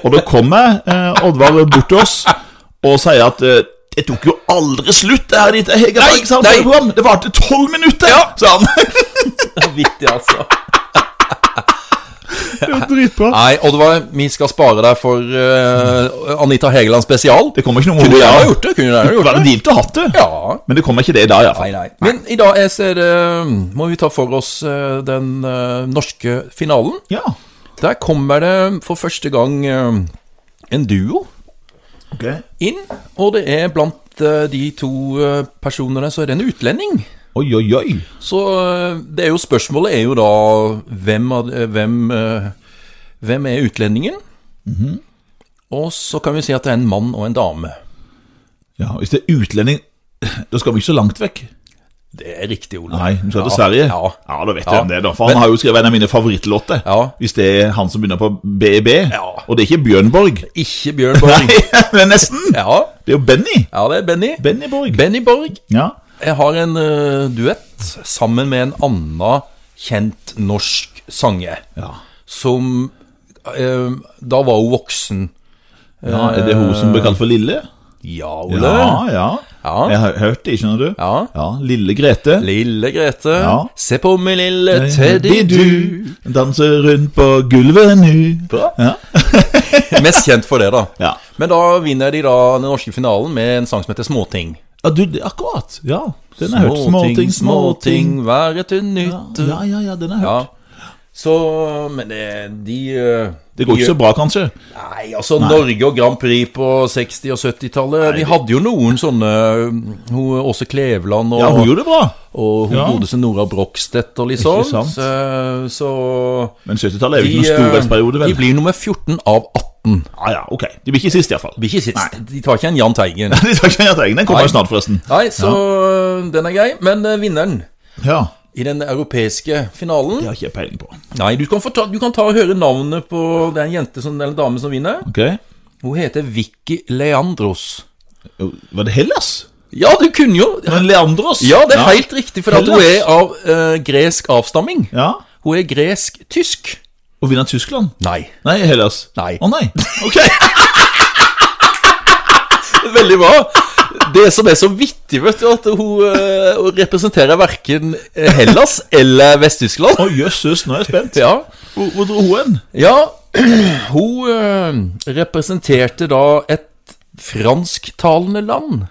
S2: Og da kommer eh, Oddvar bort til oss og sier at eh, det tok jo aldri slutt, det her ditt
S1: Nei, nei.
S2: Hegerberg-program. Det varte tolv minutter, sa han.
S1: Vittig, altså.
S2: Det er Dritbra.
S1: Nei, Oddvar, vi skal spare deg for eh, Anita Hegeland spesial.
S2: Det kommer ikke noe
S1: Kunne
S2: moro.
S1: jeg ha
S2: Ja.
S1: gjort det? Kunne jeg ha
S2: Det var
S1: gjort det?
S2: deal til å hatt det.
S1: Ja.
S2: Men det kommer ikke det i dag,
S1: Nei,
S2: iallfall.
S1: nei. Men i dag er så er det, må vi ta for oss eh, den eh, norske finalen.
S2: Ja.
S1: Der kommer det for første gang eh, en duo
S2: Ok.
S1: inn. Og det er blant eh, de to eh, personene så er det en utlending.
S2: Oi, oi, oi.
S1: Så eh, det er jo spørsmålet er jo da hvem, av- eh, hvem, eh, hvem er utlendingen?
S2: Mhm.
S1: Og så kan vi si at det er en mann og en dame.
S2: Ja, Hvis det er utlending, da skal vi ikke så langt vekk.
S1: Det er riktig, Ole.
S2: Nei, hun skal til
S1: Ja,
S2: Sverige.
S1: ja.
S2: da vet
S1: Ja.
S2: jeg om det, da. For han
S1: Men-
S2: har jo skrevet en av mine favorittlåter.
S1: Ja.
S2: Hvis det er han som begynner på BEB.
S1: Ja.
S2: Og det er ikke Bjørnborg.
S1: Ikke Bjørn Borg.
S2: Nei, men nesten.
S1: Ja,
S2: Det er jo Benny.
S1: ja, det er Benny.
S2: Benny Borg.
S1: Benny Borg
S2: ja.
S1: Jeg har en eh, duett sammen med en annen kjent norsk sanger.
S2: Ja.
S1: Som eh, Da var hun voksen.
S2: ja. Er det hun som ble kalt for Lille?
S1: Ja,
S2: Ja,
S1: Ole.
S2: ja.
S1: Ja.
S2: Jeg har hørt det, skjønner du.
S1: Ja.
S2: ja. Lille Grete.
S1: Lille Grete,
S2: Ja.
S1: se på min lille teddy du.
S2: danser rundt på gulvet nu.
S1: Bra.
S2: Ja.
S1: Mest kjent for det, da.
S2: Ja.
S1: Men da vinner de da den norske finalen med en sang som heter Småting.
S2: ja, du, det- akkurat. Ja. Den har jeg hørt. Småting, småting.
S1: småting, være til nytte.
S2: Ja, ja, ja, den har jeg hørt.
S1: Ja. Så Men det, de eh,
S2: Det går
S1: de-
S2: ikke så bra, kanskje?
S1: Nei, altså Norge og Grand Prix på 60- og 70-tallet. Vi hadde jo noen sånne eh, hun, Åse Kleveland og,
S2: Ja, hun gjorde det bra.
S1: og hun
S2: ja.
S1: godeste Nora Brokstedt og litt sånn.
S2: Ikke sant.
S1: Så, så
S2: Men 70-tallet er
S1: de,
S2: jo ikke noen storhetsperiode,
S1: eh,
S2: vel? Ah,
S1: de blir nummer 14 av 18.
S2: Ja, ja, ok. De blir ikke sist, iallfall.
S1: Blir ikke sist. De tar ikke en Jahn Teigen.
S2: De tar ikke Jahn Teigen. Den kommer jo snart, forresten.
S1: Nei, så eh, den er grei. Men eh, vinneren
S2: Ja.
S1: i den europeiske finalen
S2: Det har ikke jeg peiling på.
S1: Nei, du kan, få ta, du kan ta og høre navnet på den jente som, eller dame som vinner.
S2: Ok.
S1: Hun heter Vicky Leandros.
S2: Jo, Var det Hellas?
S1: Ja, du kunne jo
S2: Men Leandros?
S1: Ja, det er helt riktig, for at hun
S2: Hellas.
S1: er av eh, gresk avstamming.
S2: Ja.
S1: Hun er gresk-tysk.
S2: Og vinner Tyskland?
S1: Nei.
S2: Nei, Hellas.
S1: Nei.
S2: Å nei.
S1: Ok! Veldig bra. Det som er så vittig, vet du, at hun eh, hun representerer verken Hellas eller Vest-Tyskland.
S2: Å jøsses, nå er jeg spent.
S1: Ja.
S2: Hvor, hvor dro hun hen?
S1: ja, hun eh, representerte da et fransktalende land.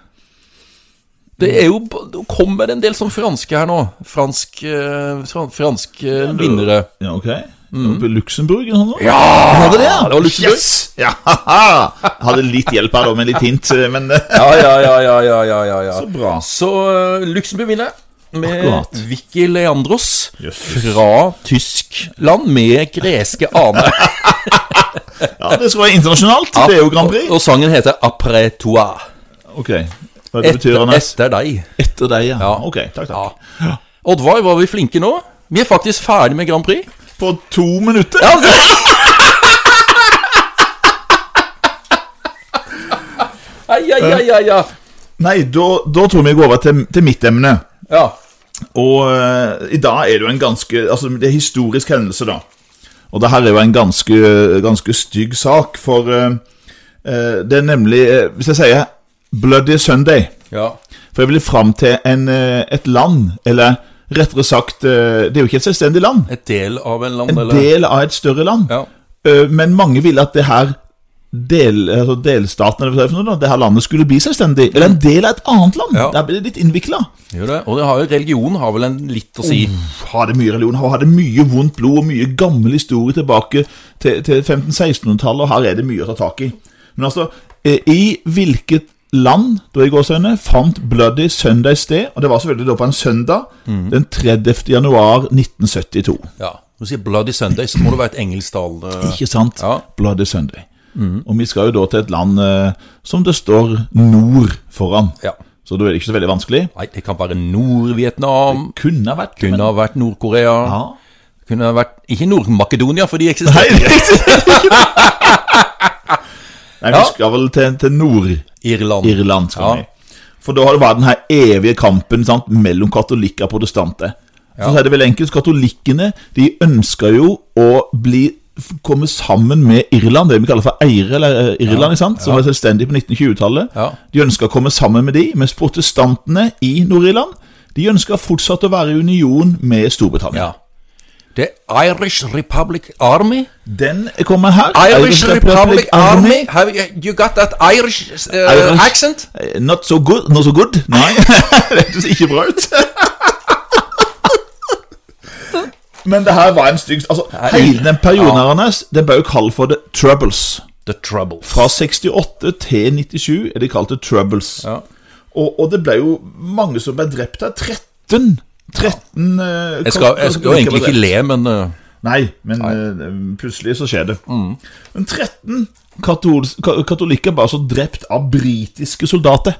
S1: Det er jo Nå kommer det en del sånn franske her nå. Fransk, eh, fran- franske vinnere.
S2: Ja, ok. Mm. Oppe i Luxembourg eller noe sånt?
S1: Ja!
S2: Var det det?
S1: det var Luxembourg.
S2: Yes! Ja, haha. Jeg hadde litt hjelp her da, med litt hint, men eh,
S1: Ja, ja, ja, ja, ja, ja, ja, ja.
S2: Så bra.
S1: Så eh, Luxembourg vinner med
S2: Akkurat.
S1: Vicky Leandros
S2: Jøsses.
S1: fra Tyskland med greske aner.
S2: Ja, det skal være internasjonalt. Det er jo Grand
S1: Og,
S2: Prix.
S1: og sangen heter Après toi.
S2: Ok. Hva er det betyr,
S1: Etter,
S2: Anders?
S1: etter deg.
S2: Etter deg, ja.
S1: Ja.
S2: Ok, takk, takk.
S1: Ja. Oddvar, var vi flinke nå? Vi er faktisk ferdig med Grand Prix.
S2: På to minutter?
S1: Ja, altså. Ai, ai, ai, ai, ja.
S2: Nei, da, da tror jeg vi går over til, til mitt emne.
S1: ja.
S2: Og eh, i dag er det jo en ganske Altså, det er historisk hendelse, da. Og det her er jo en ganske, ganske stygg sak, for eh, eh, det er nemlig eh, Hvis jeg sier Bloody Sunday
S1: Ja.
S2: For jeg vil fram til en, eh, et land, eller rettere sagt eh, Det er jo ikke et selvstendig land.
S1: Et del av en land,
S2: En
S1: eller?
S2: del av et større land.
S1: Ja.
S2: Eh, Men mange ville at det her del, altså delstaten, eller hva det er for noe, da, det her landet skulle bli selvstendig. Eller en del av et annet land.
S1: Ja.
S2: Der ble det litt innvikla.
S1: Gjør det. Og det har jo, religion har vel en litt å
S2: Mm.
S1: si.
S2: Hadde mye religion, her hadde mye vondt blod og mye gammel historie tilbake til, til 1500-1600-tallet, og her er det mye å ta tak i. Men altså, eh, i hvilket land, da i gårsøgne, fant Bloody Sunday sted? Og det var selvfølgelig da på en søndag, den 30. januar 1972.
S1: Ja. Når du sier Bloody Sunday, så må det være et eh, engelsktalende
S2: Ikke sant?
S1: Ja. Mhm.
S2: Bloody Sunday. Og vi skal jo da til et land eh, som det står nord foran.
S1: Ja.
S2: Så da er det ikke så veldig vanskelig.
S1: Nei, det kan være Nord-Vietnam.
S2: Kunne ha vært
S1: Kunne
S2: men-
S1: ha vært Nord-Korea.
S2: ja.
S1: Kunne ha vært Ikke Nord-Makedonia, for de
S2: Nei,
S1: eksisterer.
S2: det er ikke Nei, vi
S1: Ja.
S2: skal vel til, til Nord-Irland,
S1: Irland.
S2: skal
S1: Ja.
S2: vi. For da har det vært den her evige kampen sant, mellom katolikker og protestanter. For så er det vel enkelt, Katolikkene de ønsker jo å bli, f- komme sammen med Irland, det vi kaller for Eire, eller eh, Irland, ikke sant? som var selvstendig på 1920-tallet.
S1: Ja.
S2: De ønsker å komme sammen med de, mens protestantene i Nord-Irland de ønsker fortsatt å være i union med Storbritannia.
S1: Ja. The Irish Republic Army.
S2: Den kommer her.
S1: Irish Republic Army. Have you, you got that Irish, uh,
S2: Irish.
S1: accent?
S2: Eh, Not so good. Not so good. Nei, det ser ikke bra ut. Men det her var en stygg Altså, Hele den perioden her, Anders, den ble jo kalt for The Troubles.
S1: The Troubles.
S2: Fra 68 til 97 er de kalt The Troubles.
S1: Ja.
S2: Og, og det ble jo mange som ble drept her. 13! 13 eh,
S1: Jeg skal,
S2: kort-
S1: jeg skal jo egentlig
S2: ble
S1: ikke
S2: drept.
S1: le, men uh,
S2: Nei, men eh, plutselig så skjer det.
S1: Mm.
S2: Men 13 katol ka katolikker ble altså drept av britiske soldater.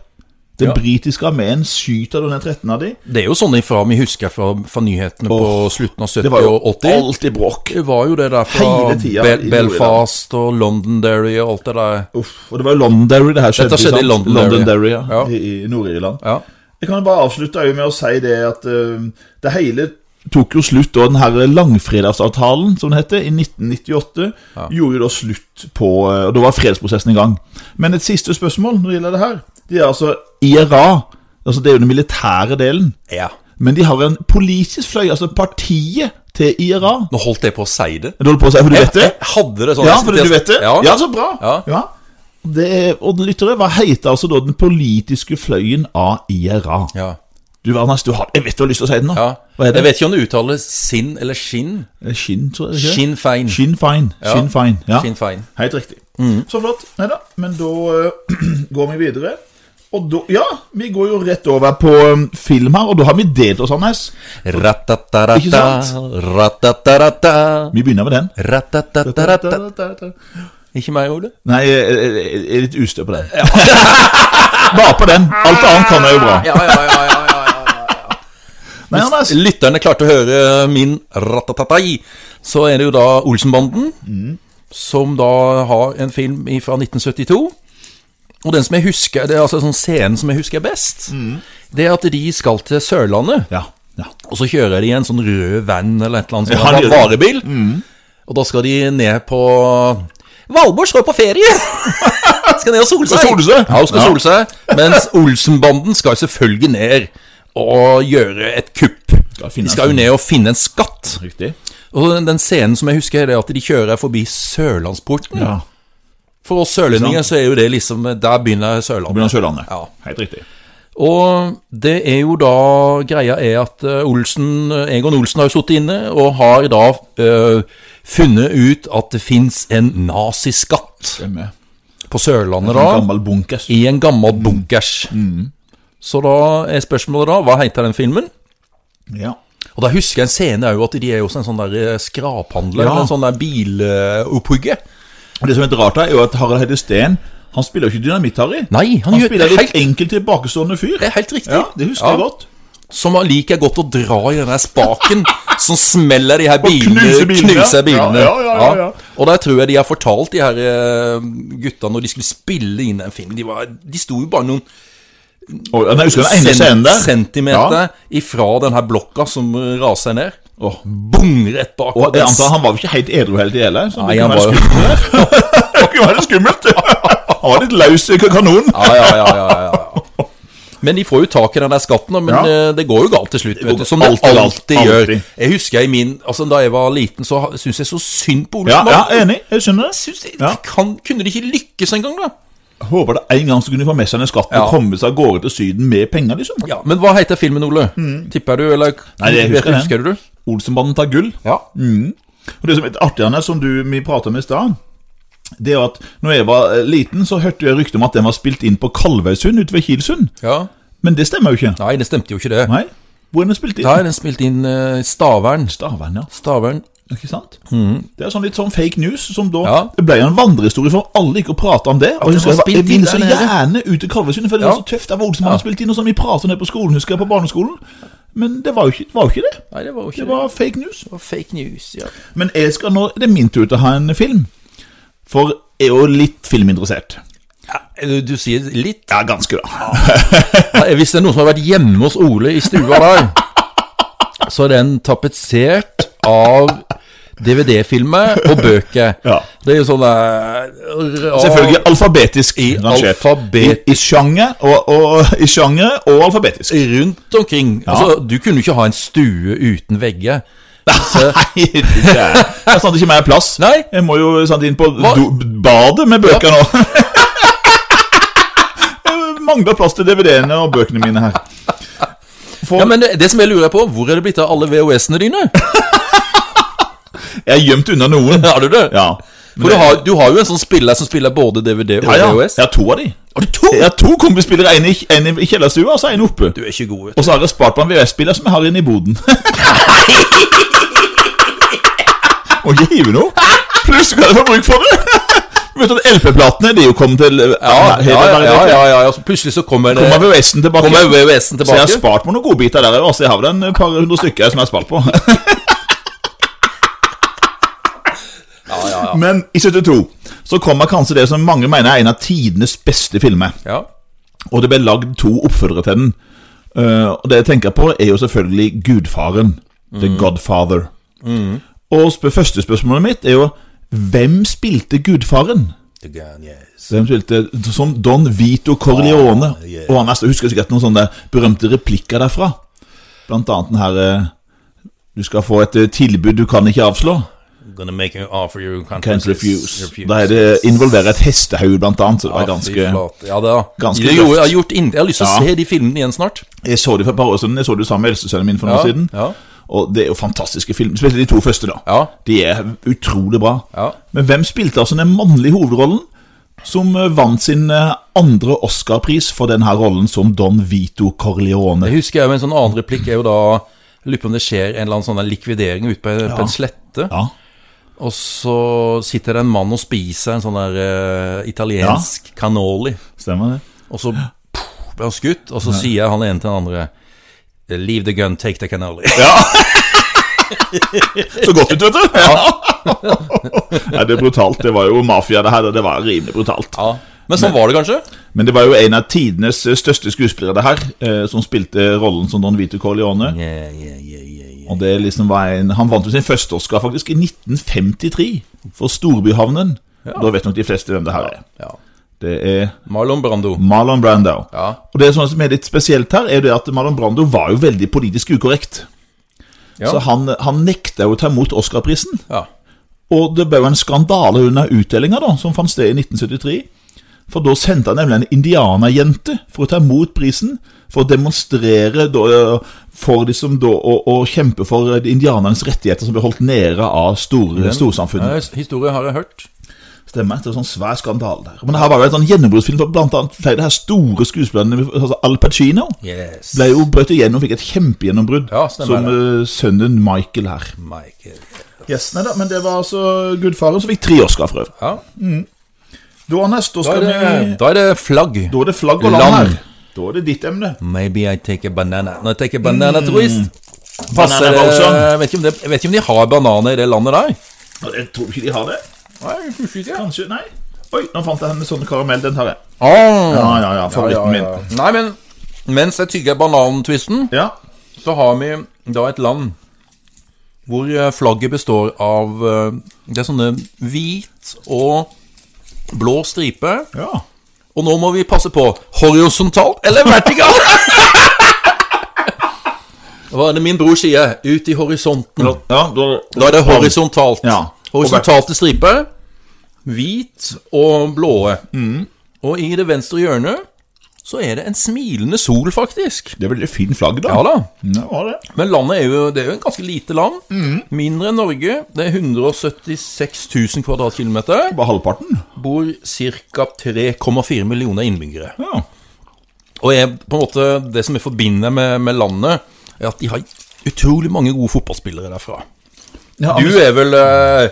S2: Den
S1: Ja.
S2: britiske armeen skyter da ned 13 av de.
S1: det er jo sånn ifra vi husker fra, fra nyhetene på slutten av 70-
S2: Det var jo
S1: og 80.
S2: alltid bråk.
S1: Det var jo det der fra
S2: Hele tida i
S1: Be
S2: Norge,
S1: Belfast og Londonderry og alt det der.
S2: Uff, og det var jo Londonderry det her skjedde.
S1: Dette skjedde i
S2: sant?
S1: Londonderry.
S2: Londonderry, ja,
S1: Ja.
S2: I, i Nord-Irland.
S1: Ja.
S2: Jeg kan jo bare avslutte jo med å si det at eh, det hele tok jo slutt da den her langfredagsavtalen, som det heter, i 1998, gjorde jo da slutt på eh, Og da var fredsprosessen i gang. Men et siste spørsmål når det gjelder det her. De er altså IRA. altså Det er jo den militære delen.
S1: ja.
S2: Men de har en politisk fløy, altså partiet til IRA.
S1: Nå holdt jeg på å si det.
S2: Du holder på å si for du vet det?
S1: Jeg hadde det sånn.
S2: Ja,
S1: Jeg-
S2: for du vet det?
S1: Ja.
S2: Ja, så bra.
S1: Ja.
S2: Det, og lyttere, hva heter altså da den politiske fløyen av IRA?
S1: Ja.
S2: Du, Anders, du har, jeg vet du har lyst til å si det nå.
S1: Ja.
S2: Hva er det? Eh,
S1: Jeg vet ikke om det uttales sinn eller skinn.
S2: Skinn, tror jeg. det ikke er.
S1: Skinn fein.
S2: Skinn fein.
S1: Ja.
S2: Skinn fein. Ja.
S1: Skinn Mm. fein.
S2: Helt riktig. Så flott. Nei da, men da eh, går vi videre. Og da Ja, vi går jo rett over på eh, film her, og da har vi delt oss, Anders. Ikke
S1: Ratatarata,
S2: sant?
S1: ratatarata,
S2: Vi begynner med den.
S1: ratatatarata. Ikke meg, Ole?
S2: Nei, jeg, jeg, jeg er litt ustø på den. Bare på den. Alt annet kan jeg jo bra.
S1: Ja, ja, ja, ja, ja, ja.
S2: Nei, Anders.
S1: Hvis lytterne klarte å høre min ratatatai, så er det jo da Olsenbanden, som da har en film fra 1972. Og den som jeg husker, det er altså sånn scenen som jeg husker best, det er at de skal til Sørlandet,
S2: Ja. ja.
S1: og så kjører de en sånn rød van eller et eller annet
S2: Ja,
S1: sånn
S2: de gjør
S1: var-
S2: det. Mm.
S1: varebil. Og da skal de ned på Valborg skal jo på ferie! skal ned og sole seg.
S2: Skal sole seg.
S1: Ja, hun skal
S2: Ja.
S1: sole seg. Mens Olsenbanden skal selvfølgelig ned og gjøre et kupp.
S2: Skal finne
S1: de skal
S2: en- sånn-
S1: jo ned og finne en skatt.
S2: Riktig.
S1: Og den, den scenen som jeg husker, det er at de kjører forbi Sørlandsporten.
S2: Ja.
S1: For oss sørlendinger så er jo det liksom Der begynner Sørlandet.
S2: Bjørn Sørlandet.
S1: Ja.
S2: Helt riktig.
S1: Og det er jo da Greia er at eh, Olsen, eh, Egon Olsen har jo sittet inne og har da eh, funnet ut at det fins en naziskatt
S2: Det er med.
S1: på Sørlandet
S2: En
S1: da,
S2: gammel Mm. bunkers.
S1: i en gammel bunkers. Så da er spørsmålet da, hva heter den filmen?
S2: Ja.
S1: Og da husker jeg en scene er jo at de er jo også en sånn der eh, skraphandler,
S2: Ja.
S1: eller en sånn der bilopphugge.
S2: Og Det som er litt rart her, er jo at Harald Heide Steen Han spiller jo ikke dynamitt-Harry.
S1: Nei, han
S2: han
S1: gjør-
S2: spiller en
S1: helt-
S2: helt... enkel tilbakestående fyr.
S1: Det er helt riktig.
S2: Ja, Det husker
S1: Ja.
S2: jeg godt.
S1: Som han liker godt å dra i den der spaken som smeller de her bilene.
S2: knuser bilene.
S1: knuser bilene.
S2: Ja, ja, ja, ja, ja.
S1: Og der tror jeg de har fortalt de her eh, gutta når de skulle spille inn den filmen. De, var, de sto jo bare noen
S2: Og, jeg husker den ene
S1: cent-
S2: scenen der.
S1: centimeter
S2: Ja.
S1: ifra den her blokka som eh, raser ned.
S2: Åh.
S1: Bung rett bak.
S2: Og jeg antar han var jo ikke helt edru helt i hele. Så
S1: Nei,
S2: det kunne
S1: han
S2: være
S1: var jo-
S2: skummelt. det kunne være litt skummelt. han var litt løs i kanonen.
S1: ja, ja, ja, ja, ja, ja. Men de får jo tak i den der skatten, da, men
S2: Ja.
S1: eh, det går jo galt til slutt.
S2: går
S1: Vet du, som det
S2: alltid
S1: alltid,
S2: galt.
S1: gjør.
S2: Alltid.
S1: Jeg husker jeg i min, altså Da jeg var liten, så ha- syntes jeg så synd på
S2: Ja,
S1: Olsenmann.
S2: ja, enig. Jeg skjønner det.
S1: synes jeg,
S2: Ja.
S1: de kan, Kunne de ikke lykkes engang, da?
S2: Jeg Håper det en gang så kunne de få med seg den skatten
S1: Ja.
S2: og komme seg av gårde til Syden med penger, liksom.
S1: Ja, Men hva heter filmen, Ole? Tipper du, eller
S2: Mm. Nei, jeg husker den.
S1: husker du? det?
S2: Olsenbanden tar gull.
S1: Ja.
S2: Og det som er litt artig, Anders, som du, vi pratet om i stad, det er jo at når jeg var eh, liten, så hørte jeg rykte om at den var spilt inn på Kalvøysund ute ved Kilsund.
S1: ja.
S2: Men det stemmer jo ikke.
S1: Nei, det stemte jo ikke, det.
S2: Nei. Hvor er den spilt inn?
S1: Nei, den spilte inn eh, Stavern.
S2: Stavern, ja.
S1: Stavern.
S2: Ikke sant? Det er sånn litt sånn fake news. som da,
S1: Mm. Ja.
S2: Det ble jo en vandrehistorie, for alle gikk og prata om det. Og
S1: den
S2: jeg, husker
S1: var
S2: jeg, var- jeg
S1: spilt inn
S2: ville så
S1: der
S2: gjerne ut til Kalvøysund, for det
S1: Ja.
S2: var så tøft. Det var Olsenmannen spilt inn, og sånn. Vi prata om det på skolen, husker jeg, på barneskolen. Men det var jo ikke, var jo ikke det.
S1: Nei, det var jo
S2: Det
S1: ikke det.
S2: var fake news.
S1: Det var fake news, ja.
S2: Men jeg skal nå, det er min tur til å ha en film. For jeg er jo litt filminteressert.
S1: Eh, Du, du sier litt.
S2: Ja, ganske, da.
S1: Nei, Hvis det er noen som har vært hjemme hos Ole i stua der, så er den tapetsert av DVD-filmer og bøker.
S2: Ja.
S1: Det er jo sånn uh,
S2: Selvfølgelig alfabetisk.
S1: I
S2: rangert.
S1: alfabet-
S2: I, i, sjanger og, og, I sjanger og alfabetisk.
S1: rundt omkring. Altså, du kunne jo ikke ha en stue uten vegger.
S2: Nei, det er det er sant ikke mer plass.
S1: Nei.
S2: Jeg må jo sant inn på
S1: Hva?
S2: do, badet med bøker nå. Jeg mangler plass til DVD-ene og bøkene mine her. For
S1: Ja, men det, det som jeg lurer på, hvor er det blitt av alle VHS-ene dine?
S2: jeg er gjemt unna noen.
S1: Har du det?
S2: Ja.
S1: For du har, du har jo en sånn spiller som spiller både DVD og
S2: ja, ja.
S1: VHS.
S2: Jeg har to av de.
S1: Har du to?
S2: Jeg har to kombispillere, en i, en i kjellerstua og så en oppe.
S1: Du er ikke god. vet du.
S2: Og så har jeg spart på en VHS-spiller som jeg har inne i boden. Og ikke hive noe. Plutselig kan jeg få bruk for det. Vet du at LP-platene de er jo kommet til
S1: Ja, ja, ja, ja,
S2: ja.
S1: ja, ja. Så plutselig så kommer, det-
S2: Kommer VHS-en tilbake.
S1: kommer VHS-en
S2: Så jeg har
S1: tilbake.
S2: spart på noen godbiter der òg. Jeg har vel en par hundre stykker som jeg har spart på. Men i 72 så kommer kanskje det som mange mener er en av tidenes beste filmer.
S1: Ja.
S2: Og det ble lagd to oppfølgere til den. Eh, og det jeg tenker på, er jo selvfølgelig Gudfaren. The Godfather. Og sp første spørsmålet mitt er jo Hvem spilte Gudfaren? Hvem spilte Som Don Vito Corleone. Og han er, jeg husker sikkert noen sånne berømte replikker derfra. Blant annet den her eh, Du skal få et eh, tilbud du kan ikke avslå.
S1: Gonna make an offer you can't,
S2: Can't refuse. Da er det involverer et hestehode, blant annet. Så det var ganske
S1: Ja, det er
S2: ganske
S1: det gjorde,
S2: løft.
S1: jeg, har gjort inn, jeg har lyst til å
S2: Ja.
S1: se de filmene igjen snart.
S2: Jeg så det for et par år siden. Jeg så det sammen med eldstesønnen min for noen
S1: Ja,
S2: år siden.
S1: ja.
S2: Og det er jo fantastiske filmer. Spesielt de to første, da.
S1: Ja.
S2: De er utrolig bra.
S1: Ja.
S2: Men hvem spilte altså den mannlige hovedrollen som eh, vant sin eh, andre Oscar-pris for denne rollen som Don Vito Corleone?
S1: Jeg husker jeg jo en sånn annen replikk er jo da jeg Lurer på om det skjer en eller annen sånn der likvidering ute på, en- på en slette.
S2: Ja.
S1: Og så sitter det en mann og spiser en sånn der eh, italiensk cannoli.
S2: Stemmer det?
S1: Og så puh, ble han skutt, og så sier han ene til den andre eh, Leave the gun, take the cannoli.
S2: Så godt ut, vet du! Nei, det er brutalt. Det var jo mafia, det her. og Det var rimelig brutalt.
S1: Ja. Men sånn var det kanskje?
S2: Men det var jo en av tidenes eh, største skuespillere, det her, eh, som spilte rollen som Don Vito Corleone.
S1: Yeah, yeah, yeah, yeah, yeah.
S2: Og det liksom var en, Han vant jo sin første Oscar faktisk i 1953 for Storbyhavnen. Da vet nok de fleste hvem det her er.
S1: Ja.
S2: Det er
S1: Marlon Brando.
S2: Marlon Brando.
S1: Ja.
S2: Og det som er litt spesielt her, er det at Marlon Brando var jo veldig politisk ukorrekt.
S1: Ja.
S2: Så han, han nekta jo å ta imot Oscarprisen.
S1: Ja.
S2: Og det ble jo en skandale under utdelinga, da, som fant sted i 1973. For da sendte han nemlig en indianerjente for å ta imot prisen, for å demonstrere da, eh, for de som da, å, å kjempe for indianernes rettigheter som ble holdt nede av store,
S1: Ja,
S2: storsamfunnet.
S1: Historie har jeg hørt.
S2: Stemmer, det var sånn svær skandale der. Men det her var jo en sånn gjennombruddsfilm for blant annet flere av de her store skuespillerne, altså Al Pacino.
S1: Yes.
S2: Ble jo brøt igjennom, fikk et kjempegjennombrudd
S1: Ja, stemmer
S2: som eh, sønnen Michael her.
S1: Michael.
S2: Yes, nei da, men det var altså gudfaren som fikk tre Oscar for øvrig.
S1: Ja.
S2: Da, Anders, da
S1: Da
S2: eh, skal
S1: er det,
S2: vi
S1: da er det flagg.
S2: Da er det flagg og land her. Da er det ditt emne.
S1: Maybe I take a banana. Når jeg take a banana twist Passer
S2: Mm. Banana
S1: det
S2: Bolshan.
S1: jeg vet, ikke om det jeg vet ikke om de har bananer i det landet der.
S2: Nå, Jeg tror ikke de har det.
S1: Nei, kanskje ikke.
S2: Kanskje, nei. Oi, nå fant jeg henne sånn karamell. Den tar jeg.
S1: Ah,
S2: Ja, ja, ja. Favoritten min.
S1: Nei, men mens jeg tygger banantvisten,
S2: Ja.
S1: så har vi da et land hvor eh, flagget består av eh, Det er sånne hvit og blå striper.
S2: ja.
S1: Og nå må vi passe på horisontalt eller vertikalt. Hva er det min bror sier? Ut i horisonten.
S2: ja da,
S1: Da er det horisontalt.
S2: Ja.
S1: Horisontalte striper. Hvit og blåe. Og i det venstre hjørnet så er det en smilende sol, faktisk.
S2: Det er veldig fint flagg, da.
S1: Ja da.
S2: Ja, var det.
S1: Men landet er jo, det er jo en ganske lite land. Mindre enn Norge. Det er 176 000 kvadratkilometer.
S2: Bare halvparten.
S1: Bor ca. 3,4 millioner innbyggere.
S2: Ja.
S1: Og jeg, på en måte, det som jeg forbinder med, med landet, er at de har utrolig mange gode fotballspillere derfra.
S2: Ja,
S1: Du er vel eh,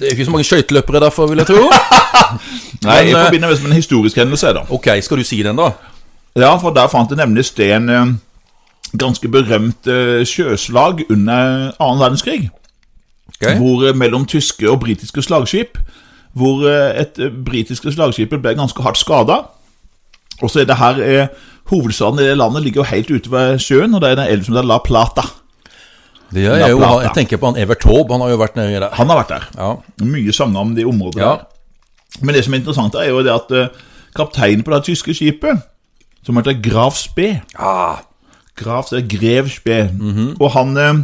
S1: Det er ikke så mange skøyteløpere derfra, vil jeg tro.
S2: Nei, jeg
S1: Men, eh,
S2: forbinder det med en historisk hendelse, da.
S1: Ok, skal du si den, da?
S2: Ja, for der fant jeg nemlig sted en eh, ganske berømt eh, sjøslag under annen verdenskrig.
S1: Ok.
S2: hvor eh, mellom tyske og britiske slagskip, hvor eh, et eh, britiske slagskipet ble ganske hardt skada. Og så er det her eh, Hovedstaden i det landet ligger jo helt ute ved sjøen, og det er den elven som heter La Plata.
S1: Det er jo,
S2: La Plata.
S1: jeg tenker på han Evert Taube, han har jo vært nedi der.
S2: Han har vært der.
S1: Ja.
S2: Mye sanger om de områdene
S1: Ja.
S2: der. Men det som er interessant, er jo det at eh, kapteinen på det tyske skipet, som heter Graf Spee,
S1: Ah,
S2: Graf det er Grev Spee. Og han, eh,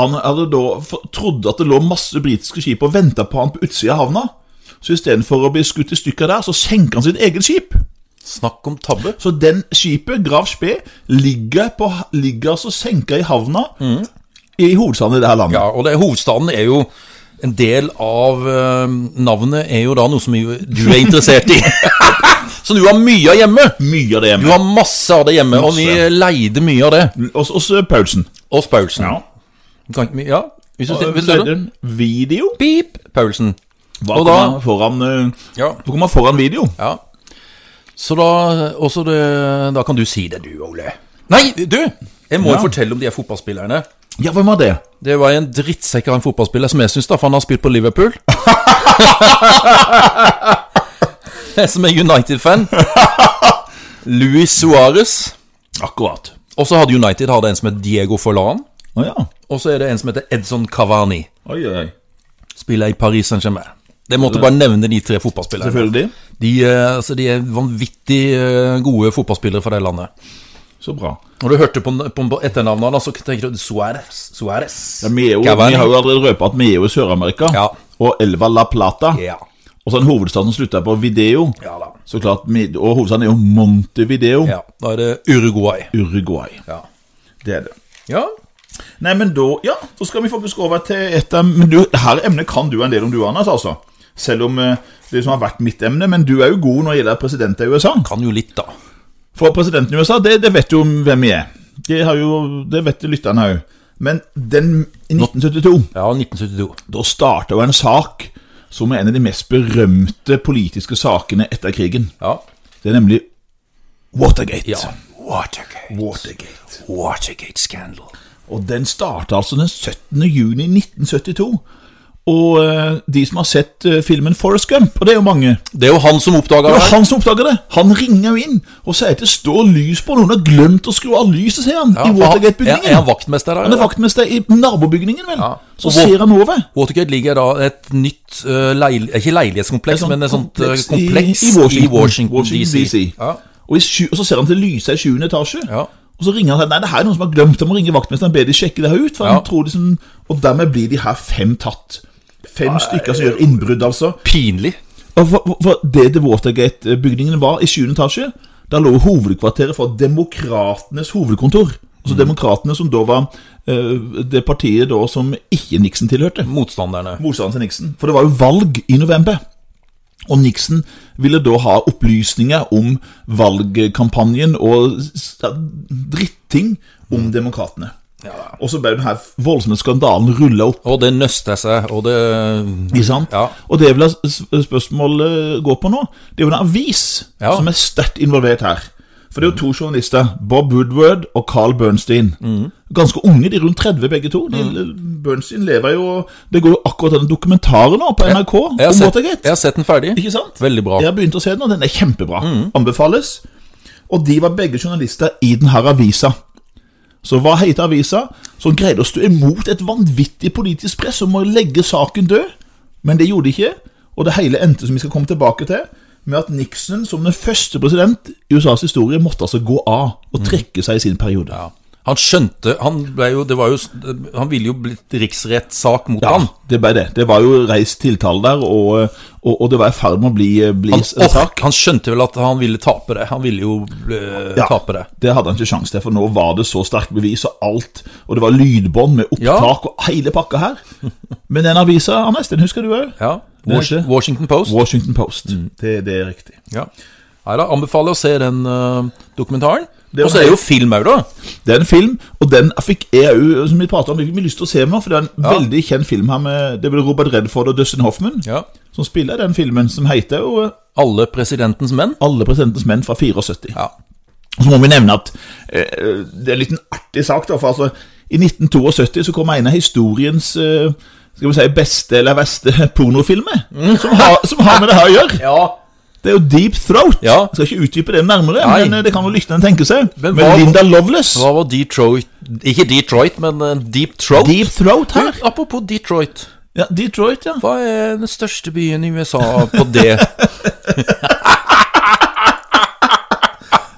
S2: Han hadde da f- trodde at det lå masse britiske skip og venta på han på utsida av havna. Så istedenfor å bli skutt i stykker der, så senker han sitt eget skip.
S1: Snakk om tabbe.
S2: Så den skipet, Grav Spee, ligger, på, ligger altså senka i havna i hovedstaden i det her landet.
S1: Ja, og det, hovedstaden er jo En del av eh, navnet er jo da noe som jo- du er interessert i. Så du har mye av hjemme.
S2: Mye av det
S1: Du
S2: hjemme.
S1: har masse av det hjemme, og vi
S2: Masse.
S1: leide mye av det.
S2: Hos, hos Paulsen.
S1: Hos Paulsen.
S2: Ja.
S1: Kan ikke vi- ja. Hvis du,
S2: Og
S1: hvis du,
S2: så er det en video.
S1: Beep, Paulsen.
S2: Hva
S1: Og
S2: kommer
S1: da-
S2: man foran, eh,
S1: Ja.
S2: hva kommer man foran video?
S1: ja. Så da også det, Da kan du si det, du, Ole. Nei, du! Jeg må
S2: Ja.
S1: fortelle om de her fotballspillerne.
S2: Ja, hvem var det?
S1: Det var en drittsekk av en fotballspiller som jeg syns, da, for han har spilt på Liverpool. Jeg som er United-fan. Luis Suárez.
S2: Akkurat.
S1: Og så hadde United hadde en som het Diego Forlan.
S2: Å ja.
S1: Og så er det en som heter Edson Cavani.
S2: Oi, oi, oi.
S1: Spiller i Paris Saint-Germain. Jeg måtte bare nevne de tre fotballspillerne.
S2: Selvfølgelig.
S1: De, eh, altså, de er vanvittig eh, gode fotballspillere fra det landet.
S2: Så bra.
S1: Når du hørte på, på, på etternavnet hans, så tenker du Suárez. Suárez.
S2: Ja, vi, er jo,
S1: Cavani.
S2: vi har jo allerede røpet at vi er jo i Sør-Amerika.
S1: Ja.
S2: Og elva La Plata.
S1: Ja.
S2: Og så en hovedstad som slutter på Video.
S1: Ja da.
S2: Så klart, vi- Og hovedstaden er jo Montevideo.
S1: ja. Da er det Uruguay.
S2: Uruguay.
S1: Ja.
S2: Det er det.
S1: ja.
S2: Nei, men da Ja, så skal vi faktisk over til et av Men du, det her emnet kan du en del om du, Anders, altså. Selv om eh, det som har vært mitt emne. Men du er jo god når det gjelder president i USA.
S1: Kan jo litt, da.
S2: For presidenten i USA, det, det vet jo hvem vi er. Det, har jo, det vet lytterne òg. Men den i 1972
S1: Ja, 1972.
S2: Da starta jo en sak som er en av de mest berømte politiske sakene etter krigen.
S1: Ja.
S2: Det er nemlig Watergate.
S1: ja. Watergate.
S2: Watergate.
S1: Watergate scandal.
S2: Og den starta altså den 17. juni 1972. Og eh, de som har sett eh, filmen Forrest Gump, og det er jo mange
S1: Det er jo han som oppdaga
S2: Det
S1: det.
S2: var han som oppdaga det! Han ringer jo inn og sier at det står lys på, noen har glemt å skru av lyset, sier han,
S1: Ja, for
S2: i
S1: han-
S2: Watergate-bygningen.
S1: er- er han vaktmester der,
S2: Han er
S1: eller?
S2: vaktmester i nabobygningen, vel.
S1: Ja.
S2: Så
S1: Og hvor-
S2: ser han over.
S1: Watergate ligger da et nytt eh, leil Ikke leilighetskompleks,
S2: Et sånt
S1: men et sånt eh,
S2: kompleks i-
S1: kompleks
S2: i Washington. Washington
S1: DC.
S2: DC.
S1: Ja.
S2: Og, i sju, og så ser han til lyset i 7. etasje.
S1: Ja.
S2: Og så ringer han og sier, nei, det her er noen som har glemt om å ringe vaktmesteren. Be de sjekke det her ut. For
S1: Ja.
S2: han tror liksom, og dermed blir de her fem tatt. Fem stykker som gjør innbrudd, altså.
S1: Pinlig.
S2: Og for, for- for det The Watergate-bygningen var i 7. etasje, der lå hovedkvarteret for Demokratenes hovedkontor.
S1: Mm.
S2: Altså Demokratene, som da var eh, det partiet da som ikke Nixon tilhørte
S1: Motstanderne.
S2: motstanden til Nixon. For det var jo valg i november. Og Nixon ville da ha opplysninger om valgkampanjen og s- dritting om demokratene. Og så ble den her voldsomme skandalen rulla opp.
S1: Og det nøster seg, og det
S2: Ikke sant?
S1: Ja.
S2: Og det vil jeg s- spørsmålet gå på nå. Det er jo en avis
S1: Ja.
S2: som er sterkt involvert her. For det er jo to journalister, Bob Woodward og Carl Bernstein.
S1: Mm.
S2: Ganske unge, de er rundt 30 begge to. De, Bernstein lever jo Det går jo akkurat den dokumentaren nå på NRK
S1: Jeg har
S2: om
S1: sett,
S2: Watergate.
S1: jeg har sett den ferdig.
S2: Ikke sant?
S1: Veldig bra.
S2: Jeg har begynt å se den, og den er kjempebra.
S1: Mm.
S2: Anbefales. Og de var begge journalister i den her avisa. Så hva heter avisa som greide å stå imot et vanvittig politisk press om å legge saken død? Men det gjorde de ikke, og det hele endte, som vi skal komme tilbake til, med at Nixon som den første president i USAs historie måtte altså gå av og trekke seg i sin periode.
S1: Mm. Ja. Han skjønte Han ble jo Det var jo Han ville jo blitt riksrettssak mot han.
S2: det ble det. Det var jo reist tiltale der, og, og, og det var i ferd med å bli, bli
S1: Han,
S2: en sak.
S1: han skjønte vel at han ville tape det. Han ville jo eh,
S2: Ja,
S1: tape det.
S2: Det hadde han ikke sjanse til, for nå var det så sterke bevis og alt. Og det var lydbånd med opptak
S1: Ja.
S2: og hele pakka her. Men den avisa, Anders, den husker du òg?
S1: Ja. Mm.
S2: Det er ikke-
S1: Wash- Washington Post.
S2: Washington Post. Det, det er riktig.
S1: Ja. Nei da, anbefaler å se den eh, dokumentaren.
S2: Det var
S1: Og så er det jo film òg, da.
S2: Det er en film, og den fikk jeg òg, som vi prater om, fikk vi lyst til å se nå. For det er en
S1: Ja.
S2: veldig kjent film her med det er vel Robert Redford og Dustin Hoffman
S1: Ja.
S2: som spiller den filmen, som heter jo eh,
S1: Alle presidentens menn.
S2: Alle presidentens menn fra 74.
S1: Ja.
S2: Og så må vi nevne at eh, det er en liten artig sak, da, for altså, i 1972 så kom en av historiens eh, skal vi si, beste eller verste pornofilmer, som, har, som har med det her å gjøre.
S1: ja.
S2: Det er jo Deep Throat.
S1: Ja.
S2: Jeg skal ikke utdype det nærmere,
S1: Nei.
S2: men eh, det kan jo lytterne tenke seg.
S1: Men
S2: Men,
S1: hva-
S2: Linda Loveless,
S1: Hva var Detroit Ikke Detroit, men eh, Deep Throat.
S2: Deep Throat her.
S1: Du, Apropos Detroit.
S2: Ja, Detroit, ja.
S1: Hva er den største byen i USA på det?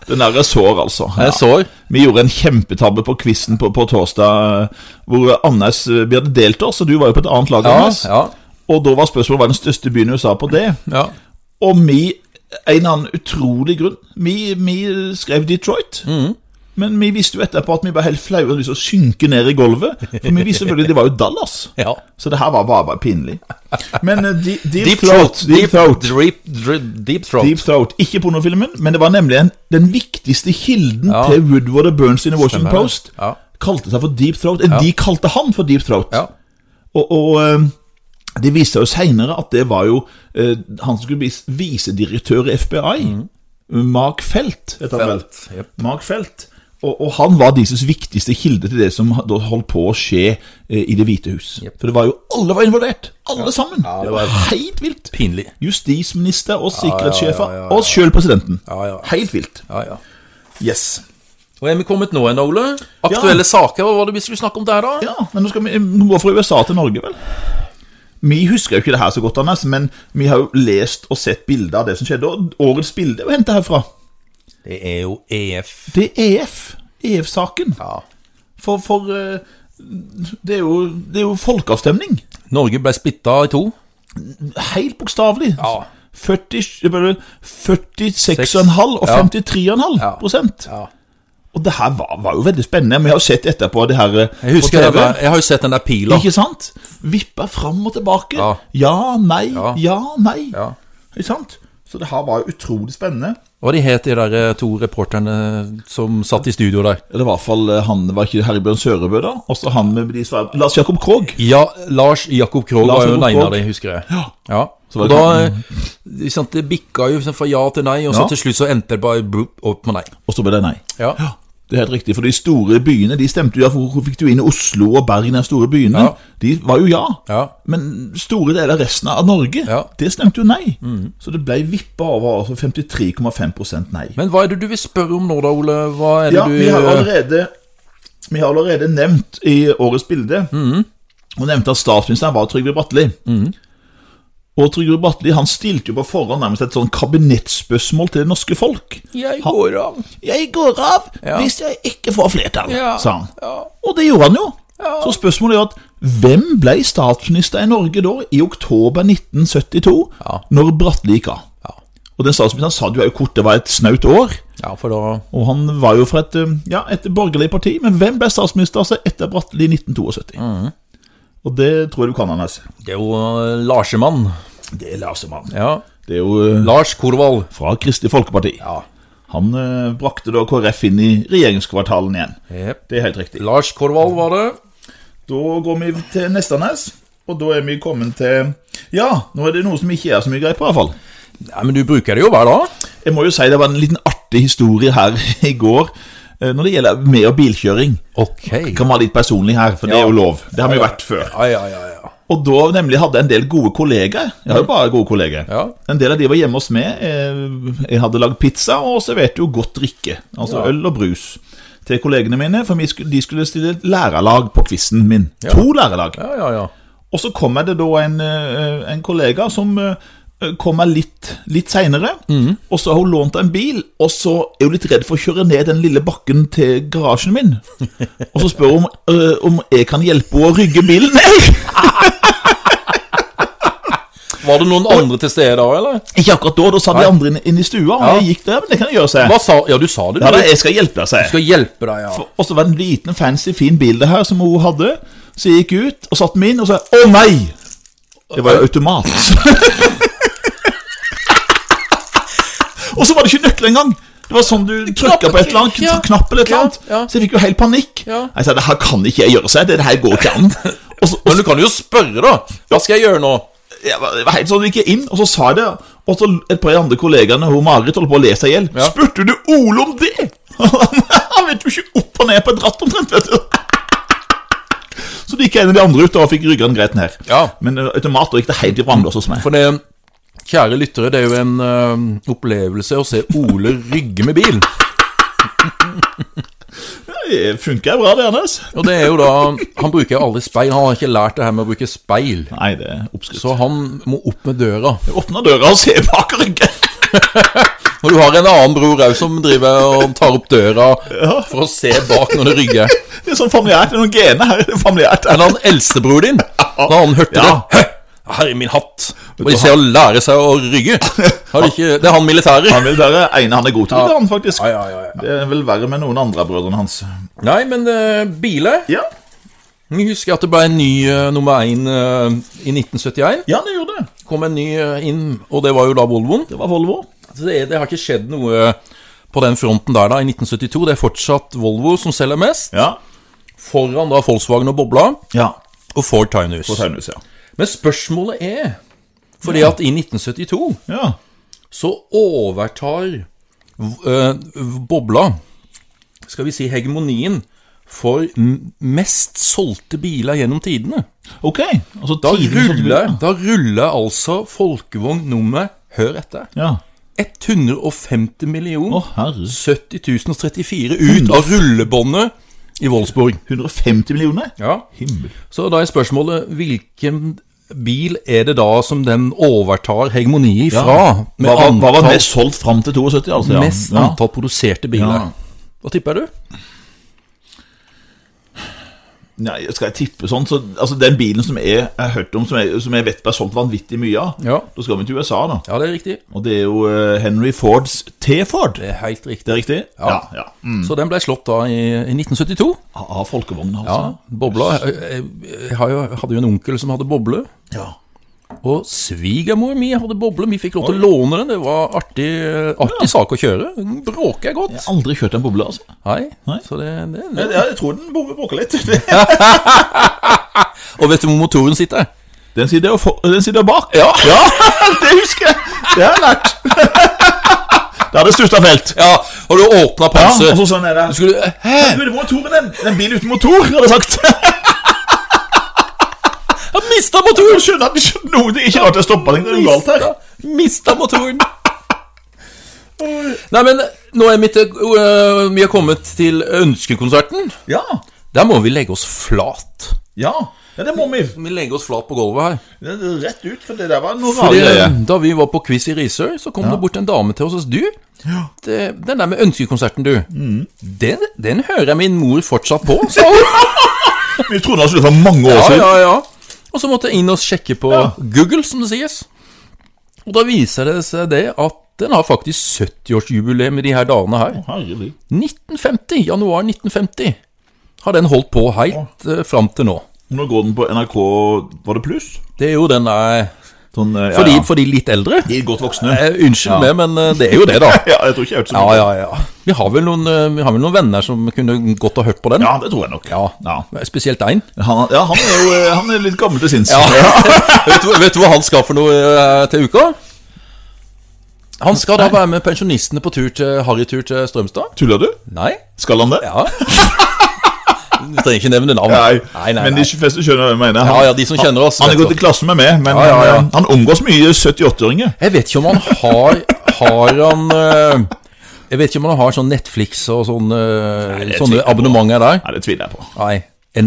S2: Den der er sår, altså. Ja.
S1: Jeg sår.
S2: Vi gjorde en kjempetabbe på quizen på, på torsdag, eh, hvor Anders eh, Vi hadde delt oss, og du var jo på et annet lag.
S1: Ja,
S2: Anders.
S1: ja,
S2: Og da var spørsmålet hva er den største byen i USA på det.
S1: ja.
S2: Og vi, en eller annen utrolig grunn, vi, vi skrev Detroit.
S1: Mm.
S2: Men vi visste jo etterpå at vi var helt flaue og hadde lyst til å synke ned i gulvet. For vi visste selvfølgelig det var jo Dallas.
S1: ja.
S2: Så det her var bare, bare pinlig. Men eh, de, deep,
S1: Deep
S2: throat,
S1: throat.
S2: Deep Throat.
S1: Deep, dri- deep throat.
S2: Deep Throat. Ikke pornofilmen, men det var nemlig en, den viktigste kilden
S1: Ja.
S2: til Woodward og Bernstein i Washington
S1: Stemmer det.
S2: Post.
S1: Ja.
S2: Kalte seg for Deep Throat. Eh, De kalte han for Deep Throat.
S1: Ja.
S2: Og, og eh, det viste seg jo seinere at det var jo eh, han som skulle bli s- visedirektør i FBI. Mark Felt, heter han
S1: Mm.
S2: vel.
S1: Felt, jep.
S2: Mark Felt. Og, og han var deres viktigste kilde til det som ha- da holdt på å skje eh, i Det hvite hus. For det var jo alle var involvert. Alle sammen. det, var helt vilt.
S1: Pinlig.
S2: Justisminister og sikkerhetssjefer,
S1: ja, ja,
S2: og sjøl presidenten.
S1: Ja, ja.
S2: Helt vilt.
S1: Ja, ja.
S2: Yes.
S1: Og er vi kommet nå hen, Ole? Aktuelle saker, hva var det vi skulle snakke om der, da?
S2: Ja, men nå skal vi nå gå fra USA til Norge, vel? Vi husker jo ikke det her så godt, Anders, men vi har jo lest og sett bilder av det som skjedde. Og årets bilde er jo henta herfra.
S1: Det er jo E EF.
S2: Det er E EF. EF-saken.
S1: Ja.
S2: For, for eh, det er, jo, det er jo folkeavstemning.
S1: Norge ble splitta i to.
S2: Helt bokstavelig.
S1: Ja.
S2: 40 bare 46,5 og
S1: Ja.
S2: 53,5
S1: Ja.
S2: prosent.
S1: Ja.
S2: Og det her var, var jo veldig spennende. Vi har jo sett etterpå det her eh,
S1: Jeg husker
S2: på
S1: den
S2: TV.
S1: der, jeg har jo sett den der pila.
S2: Ikke sant? Vippa fram og tilbake. Ja,
S1: Ja.
S2: nei, ja,
S1: Ja.
S2: nei.
S1: Ja.
S2: Ikke sant? Så det her var jo utrolig spennende.
S1: Hva de het de der eh, to reporterne som satt i studio der?
S2: Eller i hvert fall eh, han var ikke Herbjørn Sørebø, da. Også han med de svære Lars Jakob Krogh.
S1: Ja, Lars Jakob Krogh
S2: Lars
S1: var jo
S2: Jakob
S1: den ene av
S2: Krogh.
S1: dem, husker jeg. Ja.
S2: var
S1: Og
S2: det
S1: da eh, ikke sant, Det bikka jo ikke sant, fra ja til nei, og så
S2: Ja.
S1: til slutt så endte det bare boop, opp på nei.
S2: Og så ble det nei.
S1: Ja.
S2: Det er helt riktig, for de store byene de stemte jo ja. for Hvor fikk du inn Oslo og Bergen, de store byene?
S1: Ja.
S2: De var jo ja.
S1: Ja.
S2: Men store deler av resten av Norge,
S1: Ja. Mm.
S2: det stemte jo nei. Så det ble vippa over altså 53,5 nei.
S1: Men hva er det du vil spørre om nå, da, Ole? Hva er det
S2: Ja,
S1: du eh,
S2: vi har allerede Vi har allerede nevnt i årets bilde
S1: Mm.
S2: Og nevnte at statsministeren var Trygve Bratteli Og Trygve Bratteli han stilte jo på forhånd nærmest et sånn kabinettspørsmål til det norske folk
S1: Jeg
S2: Ha-
S1: går av.
S2: Jeg går av
S1: Ja.
S2: hvis jeg ikke får flertall,
S1: Ja,
S2: sa han
S1: ja.
S2: Og det gjorde han jo Så spørsmålet er jo at hvem ble statsminister i Norge da i oktober 1972
S1: Ja.
S2: når Bratteli gikk av?
S1: Ja.
S2: Og den statsministeren sa det jo kort, det var et snaut år
S1: ja, for da
S2: og han var jo fra et, eh, ja, et borgerlig parti, men hvem ble statsminister altså etter Bratteli i 1972?
S1: Mm.
S2: Og det tror jeg du kan, Anders.
S1: Det er jo eh, Larsemann.
S2: Det er Larsemann.
S1: Ja.
S2: Det er jo eh,
S1: Lars Korvald.
S2: fra Kristelig Folkeparti.
S1: Ja.
S2: Han eh, brakte da KrF inn i regjeringskvartalen igjen.
S1: Jep.
S2: Det er helt riktig.
S1: Lars Korvald var det.
S2: Da går vi til neste, Anders. Og da er vi kommet til Ja, nå er det noe som ikke er så mye greie på, iallfall.
S1: Nei, men du bruker det jo hver dag.
S2: Jeg må jo si det var en liten artig historie her i går eh, når det gjelder med- og bilkjøring.
S1: Ok.
S2: Jeg kan være litt personlig her, for det er jo lov. Det har vi vært før.
S1: Ja, ja, ja. ja.
S2: Og da nemlig hadde jeg en del gode kollegaer. Jeg har jo bare gode kollegaer.
S1: Ja.
S2: En del av de var hjemme hos meg. Eh, Jeg hadde lagd pizza og serverte jo godt drikke. Altså
S1: Ja.
S2: øl og brus til kollegene mine. For vi skulle, de skulle stille et lærerlag på quizen min. To lærerlag.
S1: ja, ja, ja.
S2: Og så kommer det da en, eh, en kollega som eh, kommer litt, litt seinere.
S1: Mhm.
S2: Og så har hun lånt en bil, og så er hun litt redd for å kjøre ned den lille bakken til garasjen min. Og så spør hun eh, om jeg kan hjelpe henne å rygge bilen ned.
S1: Var det noen andre til stede da, eller?
S2: Ikke akkurat da, da sa de andre inn, inn i stua, og
S1: Ja.
S2: jeg gikk der, men det kan jeg gjøre, sa jeg.
S1: Hva sa Ja, du sa det,
S2: Ja,
S1: du.
S2: da, jeg skal hjelpe deg, sa jeg.
S1: skal hjelpe deg, ja.
S2: Og så var det en liten, fancy, fin bil det her, som hun hadde. Så jeg gikk ut, og satte meg inn, og sa å nei! Det var jo automat. og så var det ikke nøkkel engang. Det var sånn du trykka på et eller annet,
S1: ja.
S2: knapp eller et eller annet.
S1: Ja, ja.
S2: Så jeg fikk jo helt panikk.
S1: Ja.
S2: Jeg sa det her kan ikke jeg gjøre, sa jeg. Det det her går ikke an. Og så, og
S1: Men du kan jo spørre, da. Hva skal jeg gjøre nå?
S2: jeg var, det var helt sånn du gikk jeg inn, og så sa jeg det. Og så et par av de andre kollegaene, hun Marit, holdt på å le seg i hjel.
S1: Ja.
S2: Spurte du Ole om det?! Han vet jo ikke opp og ned på et ratt, omtrent, vet du. Så det gikk en av de andre ut og fikk ryggen greit ned.
S1: Ja.
S2: Men eh, automater gikk det helt i vrangblås hos meg.
S1: For det, kjære lyttere, det er jo en eh, opplevelse å se Ole rygge med bil.
S2: Det funker bra, det, Anders.
S1: Og det er jo da Han bruker jo aldri speil. Han har ikke lært det her med å bruke speil.
S2: Nei, det er oppskrift.
S1: Så han må opp med døra.
S2: Åpna døra og se bak ryggen.
S1: Når du har en annen bror òg som driver og tar opp døra for å se bak når det rygger.
S2: Det er sånn familiært. Det er noen gener her. Det er familiært.
S1: Men han eldstebror din, da han hørte
S2: Ja.
S1: det «Hø! Herre min hatt! Må de se å lære seg å rygge? Har de ikke, det er han militære.
S2: Han vil være ene han er god til, det er han faktisk.
S1: Ja, ja, ja, ja.
S2: Det er vel verre med noen andre av brødrene hans.
S1: Nei, men eh, biler
S2: Ja,
S1: Jeg husker at det ble en ny eh, nummer én eh, i 1971.
S2: ja det gjorde det.
S1: kom en ny eh, inn, og det var jo da Volvoen.
S2: Det var Volvo.
S1: Så Det, det har ikke skjedd noe på den fronten der da, i 1972. Det er fortsatt Volvo som selger mest,
S2: Ja.
S1: foran da Volkswagen og Bobla,
S2: ja.
S1: og Ford Taunus.
S2: På Taunus, ja.
S1: Men spørsmålet er, fordi at i 1972
S2: ja.
S1: så overtar eh, Bobla, skal vi si hegemonien, for m- mest solgte biler gjennom tidene.
S2: Ok. Altså,
S1: Da
S2: tidlig sånn-
S1: ruller, da ruller altså folkevogn nummer, hør etter,
S2: Ja.
S1: 150 millioner.
S2: Å, herre.
S1: 70 034 ut av rullebåndet i Wolfsburg.
S2: 150 millioner?
S1: Ja.
S2: Himmel.
S1: Så da er spørsmålet hvilken bil er det da som den overtar hegemoniet fra?
S2: Hva, var- hva var mest solgt fram til 72, altså? Ja.
S1: mest
S2: ja.
S1: antall produserte biler?
S2: Ja.
S1: Hva tipper du?
S2: Nei, skal jeg tippe sånn, så altså, den bilen som jeg har hørt om, som jeg, som jeg vet ble solgt vanvittig mye av,
S1: Ja.
S2: da skal vi til USA, da.
S1: Ja, det er riktig.
S2: Og det er jo eh, Henry Fords T-Ford.
S1: Det er helt riktig.
S2: Det er riktig? Ja. ja, Mm.
S1: Så den ble slått da i, i 1972.
S2: Av
S1: Ja,
S2: folkevogna, altså.
S1: Bobla Jeg, jeg har jo, hadde jo en onkel som hadde boble.
S2: Ja.
S1: Og svigermor mi hadde boble. Vi fikk lov til å låne den. Det var artig, eh, artig sak å kjøre. Den bråker jeg godt.
S2: Jeg har aldri kjørt en boble, altså.
S1: Nei,
S2: Nei.
S1: så det, det,
S2: Jeg,
S1: det.
S2: jeg, jeg tror den bor- bråker litt.
S1: Og vet du hvor motoren sitter?
S2: Den sitter jo for, den sitter jo bak. Ja. det husker jeg. Det har jeg lært. Det hadde stusset felt.
S1: Ja, og du åpna
S2: Ja,
S1: panser
S2: og så sånn er det.
S1: Du skulle Hæ?
S2: Du, det var motoren den. Den bil uten motor, hadde jeg sagt.
S1: Jeg mista motoren!
S2: Jeg skjønner at jeg skjønner noe. Det er ikke rart jeg stoppet den. Det er noe galt her.
S1: Mista motoren! Nei, men nå er mitt, øh, vi har kommet til ønskekonserten.
S2: Ja,
S1: Der må vi legge oss flat.
S2: ja. Ja, det må vi.
S1: Vi legger oss flat på gulvet her.
S2: Det er Rett ut, for det der var noe
S1: Fordi,
S2: rare.
S1: øh, da vi var på quiz i Risør, så kom det bort en dame til oss og sa Du, det, den der med ønskekonserten, du,
S2: Mm.
S1: den, den hører jeg min mor fortsatt på, sa hun.
S2: Vi trodde han skulle for mange år
S1: Ja,
S2: siden.
S1: ja, ja. Og så måtte jeg inn og sjekke på
S2: Ja.
S1: Google, som det sies. Og da viser det seg det at den har faktisk 70-årsjubileum i de her dagene her.
S2: Herregud.
S1: 1950, januar 1950 har den holdt på helt uh, fram til nå.
S2: Nå går den på NRK, var det pluss?
S1: Det er jo den der
S2: Sånn, eh, ja,
S1: For, de,
S2: ja.
S1: for de litt eldre.
S2: De er godt voksne.
S1: Eh, unnskyld meg, men eh, det er jo det, da.
S2: Ja, jeg tror ikke jeg har hørt så
S1: Ja,
S2: mye.
S1: ja, ja. Vi har vel noen, eh, vi har vel noen venner som kunne godt ha hørt på den.
S2: Ja, det tror jeg nok.
S1: Ja.
S2: ja.
S1: Spesielt én.
S2: Han, ja, han er jo eh, han er litt gammel til sinns.
S1: vet, du, vet du hva han skal for noe eh, til uka? Han skal da være med pensjonistene på tur til harrytur til Strømstad?
S2: Tuller du?
S1: Nei?
S2: Skal han det?
S1: Ja. Vi trenger ikke nevne navn.
S2: Nei.
S1: nei, nei,
S2: Men
S1: nei.
S2: de fleste skjønner hva jeg mener. Han,
S1: Ja, ja, de som kjenner oss,
S2: Han,
S1: vet
S2: han er gått i klasse med meg, men
S1: Ja, ja, ja.
S2: eh, han omgås mye 78-åringer.
S1: Jeg vet ikke om han har Har han eh, Jeg vet ikke om han har sånn Netflix og sånn, eh,
S2: det tviler
S1: sånne
S2: jeg på.
S1: abonnementer der.
S2: Nei, det tviler jeg på.
S1: Nei.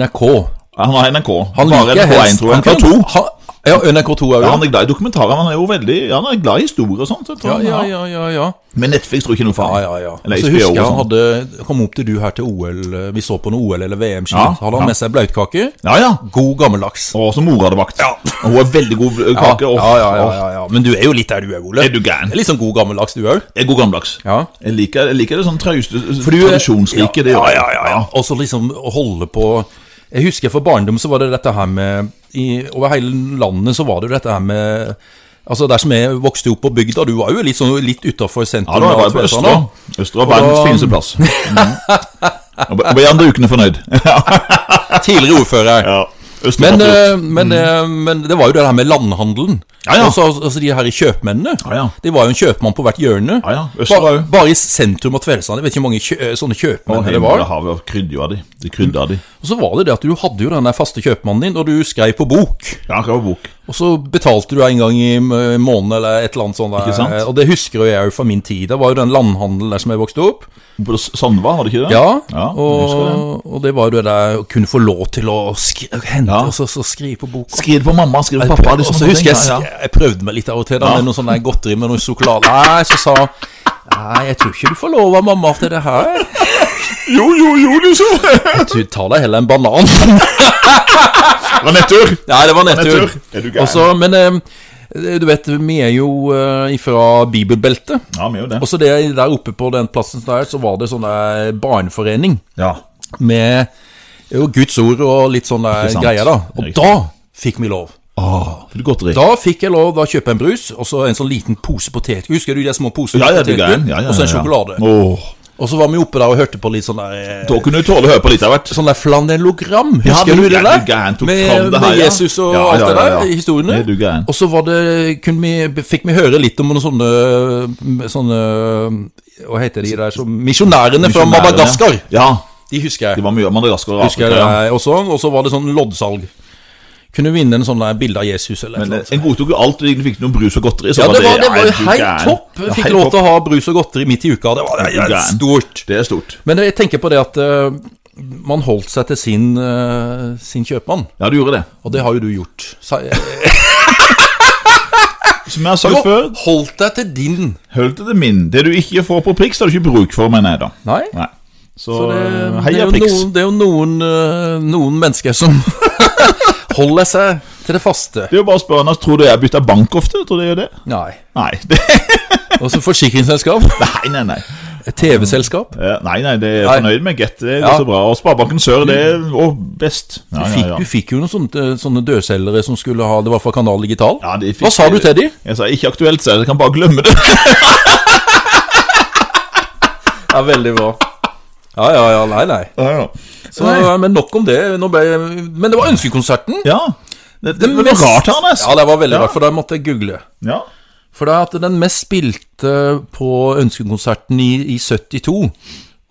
S1: NRK.
S2: Ja, Han har NRK.
S1: Han
S2: Bare
S1: liker
S2: NRK1,
S1: helst
S2: tror jeg.
S1: han kan-
S2: Ja, to.
S1: han- Ja, NRK2 òg,
S2: Ja,
S1: ja.
S2: han er glad i dokumentarer. Han er jo veldig ja, Han er glad i historier og sånt. jeg tror
S1: Ja,
S2: han
S1: ja,
S2: er.
S1: ja, ja, ja.
S2: Men Netflix tror jeg ikke noe for
S1: Ja,
S2: han.
S1: ja, ja.
S2: Eller
S1: Så
S2: HBO
S1: husker jeg
S2: og sånn.
S1: han
S2: sånt.
S1: hadde kom opp til du her til OL. eh, Vi så på noe OL eller VM-ski.
S2: Ja,
S1: så hadde han
S2: ja.
S1: med seg blautkake.
S2: Ja, ja.
S1: God gammeldags.
S2: Og så mora hadde bakt. Og hun er veldig god eh, kake. og-
S1: ja, ja, ja, ja, ja. Men du er jo litt der du er, Ole.
S2: Er du gæren?
S1: Det er Litt sånn god gammeldags du òg.
S2: Jeg er god gammeldags.
S1: Ja.
S2: Jeg liker, jeg liker det sånn trauste,
S1: du er-
S2: tradisjonsrike. det
S1: Ja,
S2: gjør jeg.
S1: ja, ja, ja. Og så liksom å holde på Jeg husker for barndom så var det dette her med i, Over hele landet så var det jo dette her med Altså Der som jeg vokste opp på bygda Du var jo litt, sånn, litt utafor sentrum.
S2: Ja, da
S1: og
S2: var
S1: alt
S2: jeg på
S1: det sånn,
S2: Østra.
S1: da.
S2: Østra var verdens
S1: Og-
S2: fineste plass. Mm. Og ble- ble andre ukene fornøyd.
S1: Tidligere ordfører.
S2: Ja. Østra
S1: Men,
S2: var flott.
S1: eh, men, eh, men det var jo det her med landhandelen.
S2: Mm. Ja, ja.
S1: Også, altså de her kjøpmennene.
S2: Ja, ja.
S1: Det var jo en kjøpmann på hvert hjørne.
S2: Ja, ja. Østra
S1: Bare,
S2: òg.
S1: bare i sentrum av Tvedestrand. Jeg vet ikke hvor mange kjø eh, sånne kjøpmenn det var.
S2: Himmelhavet krydder jo av de. De krydder av de.
S1: Og så var det det at du hadde jo den der faste kjøpmannen din, og du skrev på bok.
S2: Ja, det var bok.
S1: Og så betalte du en gang i eh, måneden eller et eller annet sånt. der.
S2: Ikke sant?
S1: Og det husker jo jeg jo fra min tid. Det var jo den landhandelen der som jeg vokste opp.
S2: På Sandva, var det ikke det?
S1: Ja,
S2: ja jeg husker det.
S1: og, og det var jo det der å kunne få lov til å skri hente
S2: Ja.
S1: og så, så skrive på boka.
S2: Skriv det på mamma, skriv det på pappa.
S1: og
S2: liksom,
S1: så
S2: sånne
S1: husker jeg,
S2: ting, ja, ja.
S1: jeg prøvde meg litt av og til da,
S2: Ja.
S1: med noe sånn der godteri med noe sjokolade. Nei, så sa hun, Nei, jeg tror ikke du får lov av mamma til det her.
S2: Jo, jo, jo, du så!
S1: Du tar deg heller en banan.
S2: Det var nettur!
S1: Nei, det var nettur.
S2: Nettur. Er du gæren?
S1: Også, men eh, du vet, vi er jo eh, ifra bibelbeltet.
S2: Ja, vi er jo det.
S1: Og så det, der oppe på den plassen der, så var det sånn der barneforening
S2: Ja.
S1: med jo, Guds ord og litt sånne
S2: Ikke sant.
S1: greier da. Og
S2: Riktig.
S1: da fikk vi lov.
S2: Åh, for du godteri.
S1: Da fikk jeg lov da å kjøpe en brus og så en sånn liten pose potetgull. Husker du de små posene?
S2: Ja, ja, du
S1: potetgull?
S2: gæren. Ja, ja, ja,
S1: Og så en
S2: ja.
S1: sjokolade.
S2: Åh,
S1: Og så var vi oppe der og hørte på litt sånn der eh,
S2: da kunne du tåle å høre på litt av hvert.
S1: Sånn der flanellogram,
S2: Ja,
S1: husker
S2: men
S1: du det
S2: er
S1: der?
S2: du gæren, tok
S1: med,
S2: fram det her,
S1: med
S2: ja.
S1: Jesus og
S2: Ja,
S1: alt
S2: ja,
S1: det
S2: ja,
S1: der,
S2: ja.
S1: historiene.
S2: Er du gæren.
S1: Og så var det, kunne vi, fikk vi høre litt om noen sånne, sånne Hva heter de der? som- Misjonærene fra
S2: Misjonærene.
S1: Madagaskar.
S2: Ja,
S1: De husker
S2: det
S1: jeg.
S2: var mye Madagaskar og
S1: Husker jeg
S2: Afrika. Ja.
S1: det også. Og så var det sånn loddsalg. Kunne vinne en sånn der bilde av Jesus eller
S2: Men
S1: noe.
S2: eh, en godtok jo alt, og egentlig fikk noen brus og godteri. så
S1: Ja, det var, det var
S2: er
S1: jo
S2: du
S1: helt
S2: gæren.
S1: topp.
S2: Ja,
S1: Fikk
S2: helt
S1: lov
S2: topp.
S1: til å ha brus og godteri midt i uka. Det var
S2: Er du
S1: det er
S2: gæren?
S1: stort.
S2: Det er stort.
S1: Men jeg tenker på det at eh, man holdt seg til sin, eh, sin kjøpmann.
S2: Ja, du gjorde det.
S1: Og det har jo du gjort. Sa-
S2: Som jeg har
S1: Du
S2: sagt før,
S1: har holdt deg til din.
S2: hold det til min. Det du ikke får på Prix, det har du ikke bruk for, mener jeg da.
S1: Nei.
S2: Nei. Så,
S1: Så det,
S2: eh,
S1: det, er
S2: heia
S1: jo
S2: Prix.
S1: noen, det er jo noen, eh, noen mennesker som holder seg til det faste.
S2: Det er jo bare å spørre henne, tror du jeg bytter bank ofte? Tror du jeg gjør det?
S1: Nei.
S2: Nei, det,
S1: Og så forsikringsselskap.
S2: nei, nei, nei.
S1: Et TV-selskap.
S2: Eh, Nei, nei, Mm. det er jeg
S1: Nei.
S2: fornøyd med. Get, det går
S1: Ja.
S2: så bra. Og Sparebanken Sør, det er å, best.
S1: Du
S2: Ja,
S1: fikk,
S2: ja,
S1: du
S2: ja.
S1: fikk jo noen sånne, sånne dødselgere som skulle ha Det var fra Kanal Digital.
S2: Ja, de fikk-
S1: Hva sa du til dem?
S2: Jeg sa ikke aktuelt, så jeg kan bare glemme det.
S1: Ja, veldig bra. Ja, ja, ja. Nei, nei.
S2: Ja, ja.
S1: Så, men nok om det. Nå ble, men det var ønskekonserten.
S2: ja. Det, det, det var
S1: mest-
S2: rart, Hannes.
S1: Ja, det var veldig
S2: Ja.
S1: rart, for da måtte jeg google.
S2: Ja.
S1: For det at den mest spilte på ønskekonserten i, i 72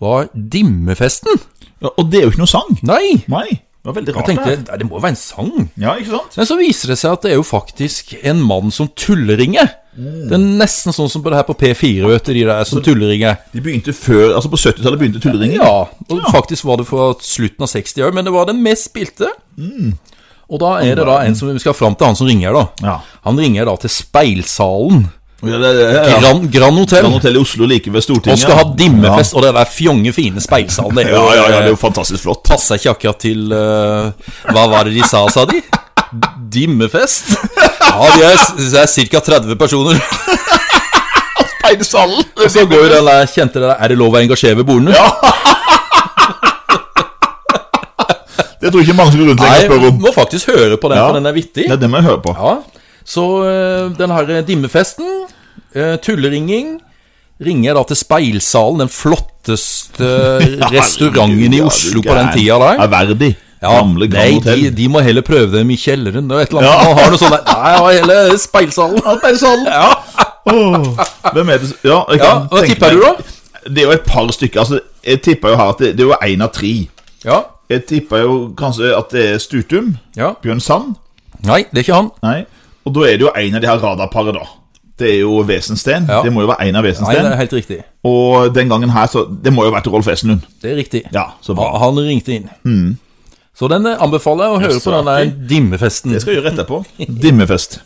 S1: var Dimmefesten.
S2: Ja, Og det er jo ikke noe sang.
S1: Nei!
S2: Nei. Det var veldig
S1: Jeg
S2: rart.
S1: tenkte
S2: det.
S1: "Nei, det må være en sang.
S2: Ja, ikke sant?
S1: Men så viser det seg at det er jo faktisk en mann som tulleringer.
S2: Mm.
S1: Det er nesten sånn som på det her på P4, vet du, de der som tulleringer.
S2: De begynte før, altså På 70-tallet begynte tulleringen.
S1: Ja, og faktisk var det fra slutten av 60 år, men det var den mest spilte. Og da er det da en som vi skal fram til han som ringer, da.
S2: Ja.
S1: Han ringer da til Speilsalen,
S2: Ja, det, det, ja, ja.
S1: Grand, Grand Hotel,
S2: Grand Hotel i Oslo like ved Stortinget.
S1: og skal ha dimmefest, og det der fjonge fine Speilsalen, det
S2: Ja,
S1: er jo, eh,
S2: ja, ja, ja det er jo fantastisk flott.
S1: passer ikke akkurat til eh, Hva var det de sa, sa de? Dimmefest? Ja, vi er, det er ca. 30 personer.
S2: Speidesalen!
S1: Og så går jo den der kjente det der Er det lov å engasjere ved bordene?
S2: Det tror jeg ikke mange som går rundt lenger og spør
S1: Nei,
S2: om.
S1: må faktisk høre på den,
S2: Ja.
S1: for den er vittig.
S2: Det er det må jeg høre på.
S1: Ja, så eh, den her dimmefesten, eh, tulleringing, ringer da til Speilsalen, den flotteste restauranten i
S2: Ja, du
S1: Oslo på den
S2: gæren.
S1: tida der.
S2: Ærverdig. Gamle Grand
S1: nei,
S2: Hotel.
S1: de, de må heller prøve dem i kjelleren og et eller annet.
S2: Ja.
S1: Man har noe sånt der. Nei, ja, hele Speilsalen. Ja.
S2: Åh, Hvem er det som- Ja, jeg
S1: ja,
S2: kan
S1: hva
S2: tenke
S1: tipper du,
S2: meg-
S1: da?
S2: Det er jo et par stykker. altså Jeg tipper jo her at det, det er jo én av tre.
S1: Ja.
S2: Jeg tipper jo kanskje at det er Stutum.
S1: ja.
S2: Bjørn Sand.
S1: Nei, det er ikke han.
S2: Nei. Og da er det jo en av de her radarparet, da. Det er jo Wesensten.
S1: Ja.
S2: Det må jo være en av
S1: Nei, det
S2: Wesensten.
S1: er helt riktig.
S2: Og den gangen her, så Det må jo ha vært Rolf Wesenlund.
S1: Det er riktig.
S2: Ja, så
S1: Ja,
S2: bra. Mm.
S1: han ringte inn. Så den eh, anbefaler jeg å høre på den der dimmefesten.
S2: Det skal jeg gjøre etterpå. Dimmefest.